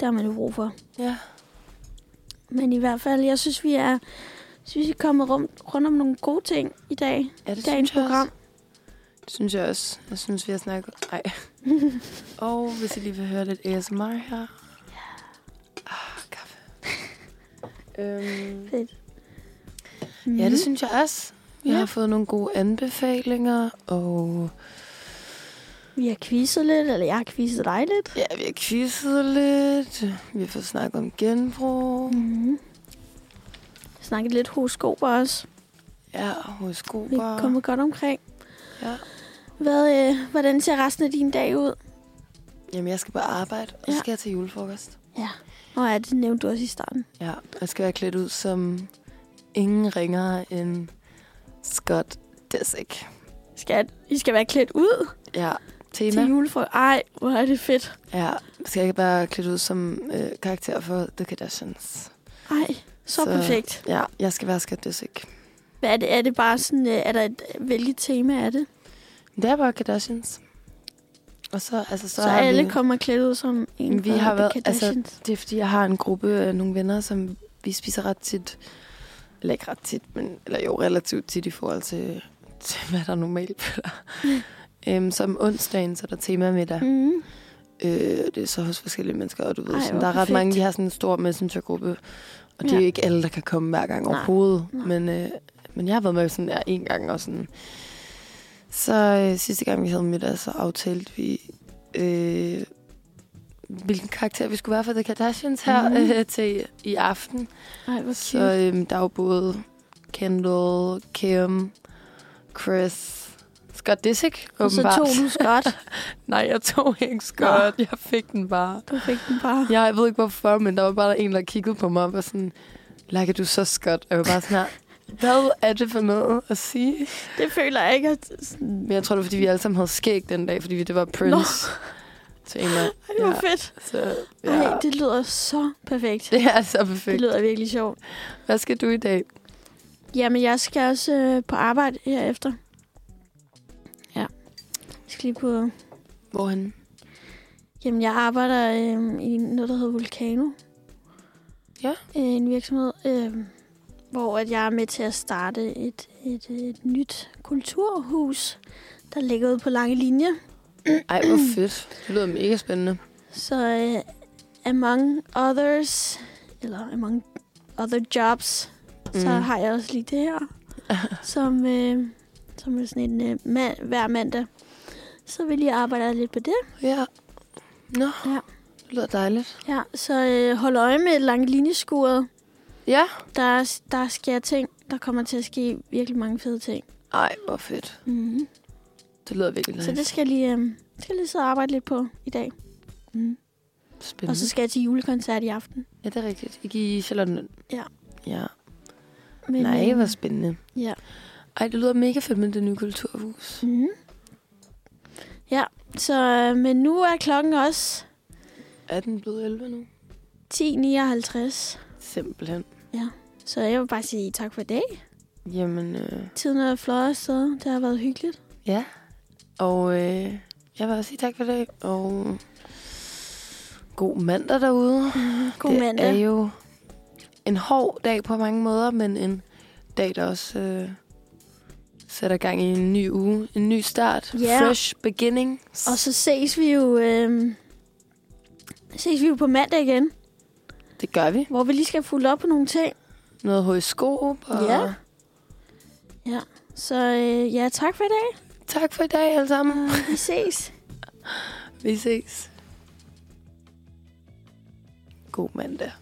A: Der har man jo brug for.
B: ja,
A: Men i hvert fald, jeg synes, vi er, synes, vi er kommet rundt, rundt om nogle gode ting i dag.
B: ja det
A: Dagens
B: synes jeg
A: program.
B: Også. Det synes jeg også. Jeg synes, vi har snakket... Ej. og hvis I lige vil høre lidt ASMR her. Ah, kaffe. øhm,
A: Fedt.
B: ja, det synes Mhm. jeg også. Vi
A: Ja.
B: har fået nogle gode anbefalinger, og
A: Mm-hmm. Vi har quizzet lidt, eller jeg har quizzet dig lidt.
B: ja, vi har quizzet lidt. Vi har fået snakket om genbrug.
A: Mm-hmm. Snakket lidt horoskoper også.
B: Ja,
A: Vi
B: horoskoper.
A: er kommet godt omkring.
B: Ja.
A: Hvad, øh, hvordan ser resten af din dag ud?
B: Jamen, jeg skal på arbejde, og
A: Ja.
B: så skal jeg til julefrokost.
A: Nå ja, det nævnte du også i starten.
B: Ja, jeg skal være klædt ud som ingen ringere end Scott Disick.
A: Skal, I skal være klædt ud?
B: Ja, tema.
A: Til julefrokost. Ej, hvor er det fedt.
B: Ja, skal jeg ikke bare klæde ud som øh, karakter for The Kardashians?
A: Ej, så, så
B: Så-
A: perfekt.
B: Ja, jeg skal være skatdysik.
A: Hvad er det? Er det bare sådan, øh, er der et, hvilket tema er det?
B: Det er bare Kardashians. Og så, altså, så,
A: Så, så
B: har
A: alle
B: vi,
A: kommer klædt ud som en
B: Vi
A: fra
B: har
A: The
B: været- altså,
A: Kardashians.
B: Det er, fordi jeg har en gruppe af nogle venner, som vi spiser ret tit. Eller ikke ret tit, men eller jo relativt tit i forhold til, til hvad der er normalt på dig. um, som onsdagen, så er der temamiddag. Mm.
A: mm.
B: Øh, og det er så hos forskellige mennesker, og du ved,
A: Ej,
B: Ej, sådan,
A: hvor
B: der er ret
A: perfekt.
B: mange, vi har sådan en stor messengergruppe. Og det er
A: Ja.
B: jo ikke alle, der kan komme hver gang
A: Nej,
B: overhovedet.
A: nej.
B: Men, øh, men jeg har været med sådan der en gang og sådan. Så øh, sidste gang, vi havde middag, så aftalte vi, øh, hvilken karakter vi skulle være for The Kardashians her
A: Mhm.
B: mm. øh, til i aften.
A: Ej, hvor
B: Så
A: cute.
B: øh, der er jo både Kendall, Kim, Chris, Scott Disick,
A: Og så
B: åbenbart.
A: tog du skot.
B: Nej, jeg tog ikke Scott. Jeg fik den bare.
A: Du fik den bare.
B: Ja, jeg ved ikke hvorfor, men der var bare en, der kiggede på mig og var sådan, Lakke, du er så skot. Og jeg var bare sådan her, hvad er det for noget at sige?
A: Det føler jeg ikke, at... Sådan...
B: Men jeg tror, det var, fordi vi alle sammen havde skæg den dag, fordi vi- det var Prince. Så en af,
A: Ej, hvor
B: ja,
A: fedt.
B: så,
A: Ja.
B: ja.
A: Ej, det lyder så perfekt.
B: det er så
A: Det
B: perfekt.
A: lyder virkelig sjovt.
B: Hvad skal du i dag?
A: Jamen, jeg skal også øh, på arbejde herefter. Ja. Jeg skal lige på...
B: Hvorhen?
A: Jamen, jeg arbejder øh, i noget, der hedder Vulcano.
B: Ja.
A: Øh, en virksomhed, øh, hvor at jeg er med til at starte et, et, et nyt kulturhus, der ligger ude på lange linje.
B: Ej, hvor fedt. Det lyder mega spændende.
A: Så øh, among others, eller among other jobs, mm. så
B: Mm.
A: har jeg også lige det her, som, øh, som er sådan en øh, mand, hver mandag. Så vil jeg arbejde lidt på det.
B: Ja. Nå,
A: Ja.
B: det lyder dejligt.
A: Ja, så øh, hold øje med lange linjeskuret.
B: Ja.
A: Der, der sker ting, der kommer til at ske virkelig mange fede ting.
B: Ej, hvor fedt.
A: Mm-hmm.
B: Det lyder virkelig nice.
A: Så det skal jeg lige, øh, skal jeg lige sidde og arbejde lidt på i dag. Mm.
B: spændende.
A: Og så skal jeg til julekoncert i aften.
B: Ja, det er rigtigt. Ikke i Charlottenlund.
A: Ja.
B: Ja.
A: Men,
B: Nej,
A: øh,
B: hvor spændende.
A: Ja.
B: Ej, det lyder mega fedt med det nye kulturhus.
A: Mm. Ja, så øh, men nu er klokken også
B: Er den blevet 11 nu?
A: 10.59.
B: Simpelthen.
A: Så jeg vil bare sige tak for i dag.
B: Jamen, øh,
A: Tiden er flot afsted. Det har været hyggeligt.
B: ja. Og øh, jeg vil også sige tak for det. Og god mandag derude.
A: God
B: det
A: mandag.
B: er jo en hård dag på mange måder, men en dag, der også øh, sætter gang i en ny uge. En ny start.
A: Ja.
B: Fresh beginning.
A: Og så ses vi jo... Øh, ses vi jo på mandag igen,
B: Det gør vi.
A: hvor vi lige skal fulde op på nogle ting.
B: Noget horoskop. Og
A: Ja. Så øh, ja, tak for i dag.
B: Tak for i dag alle sammen.
A: Vi ses.
B: Vi ses. God mandag.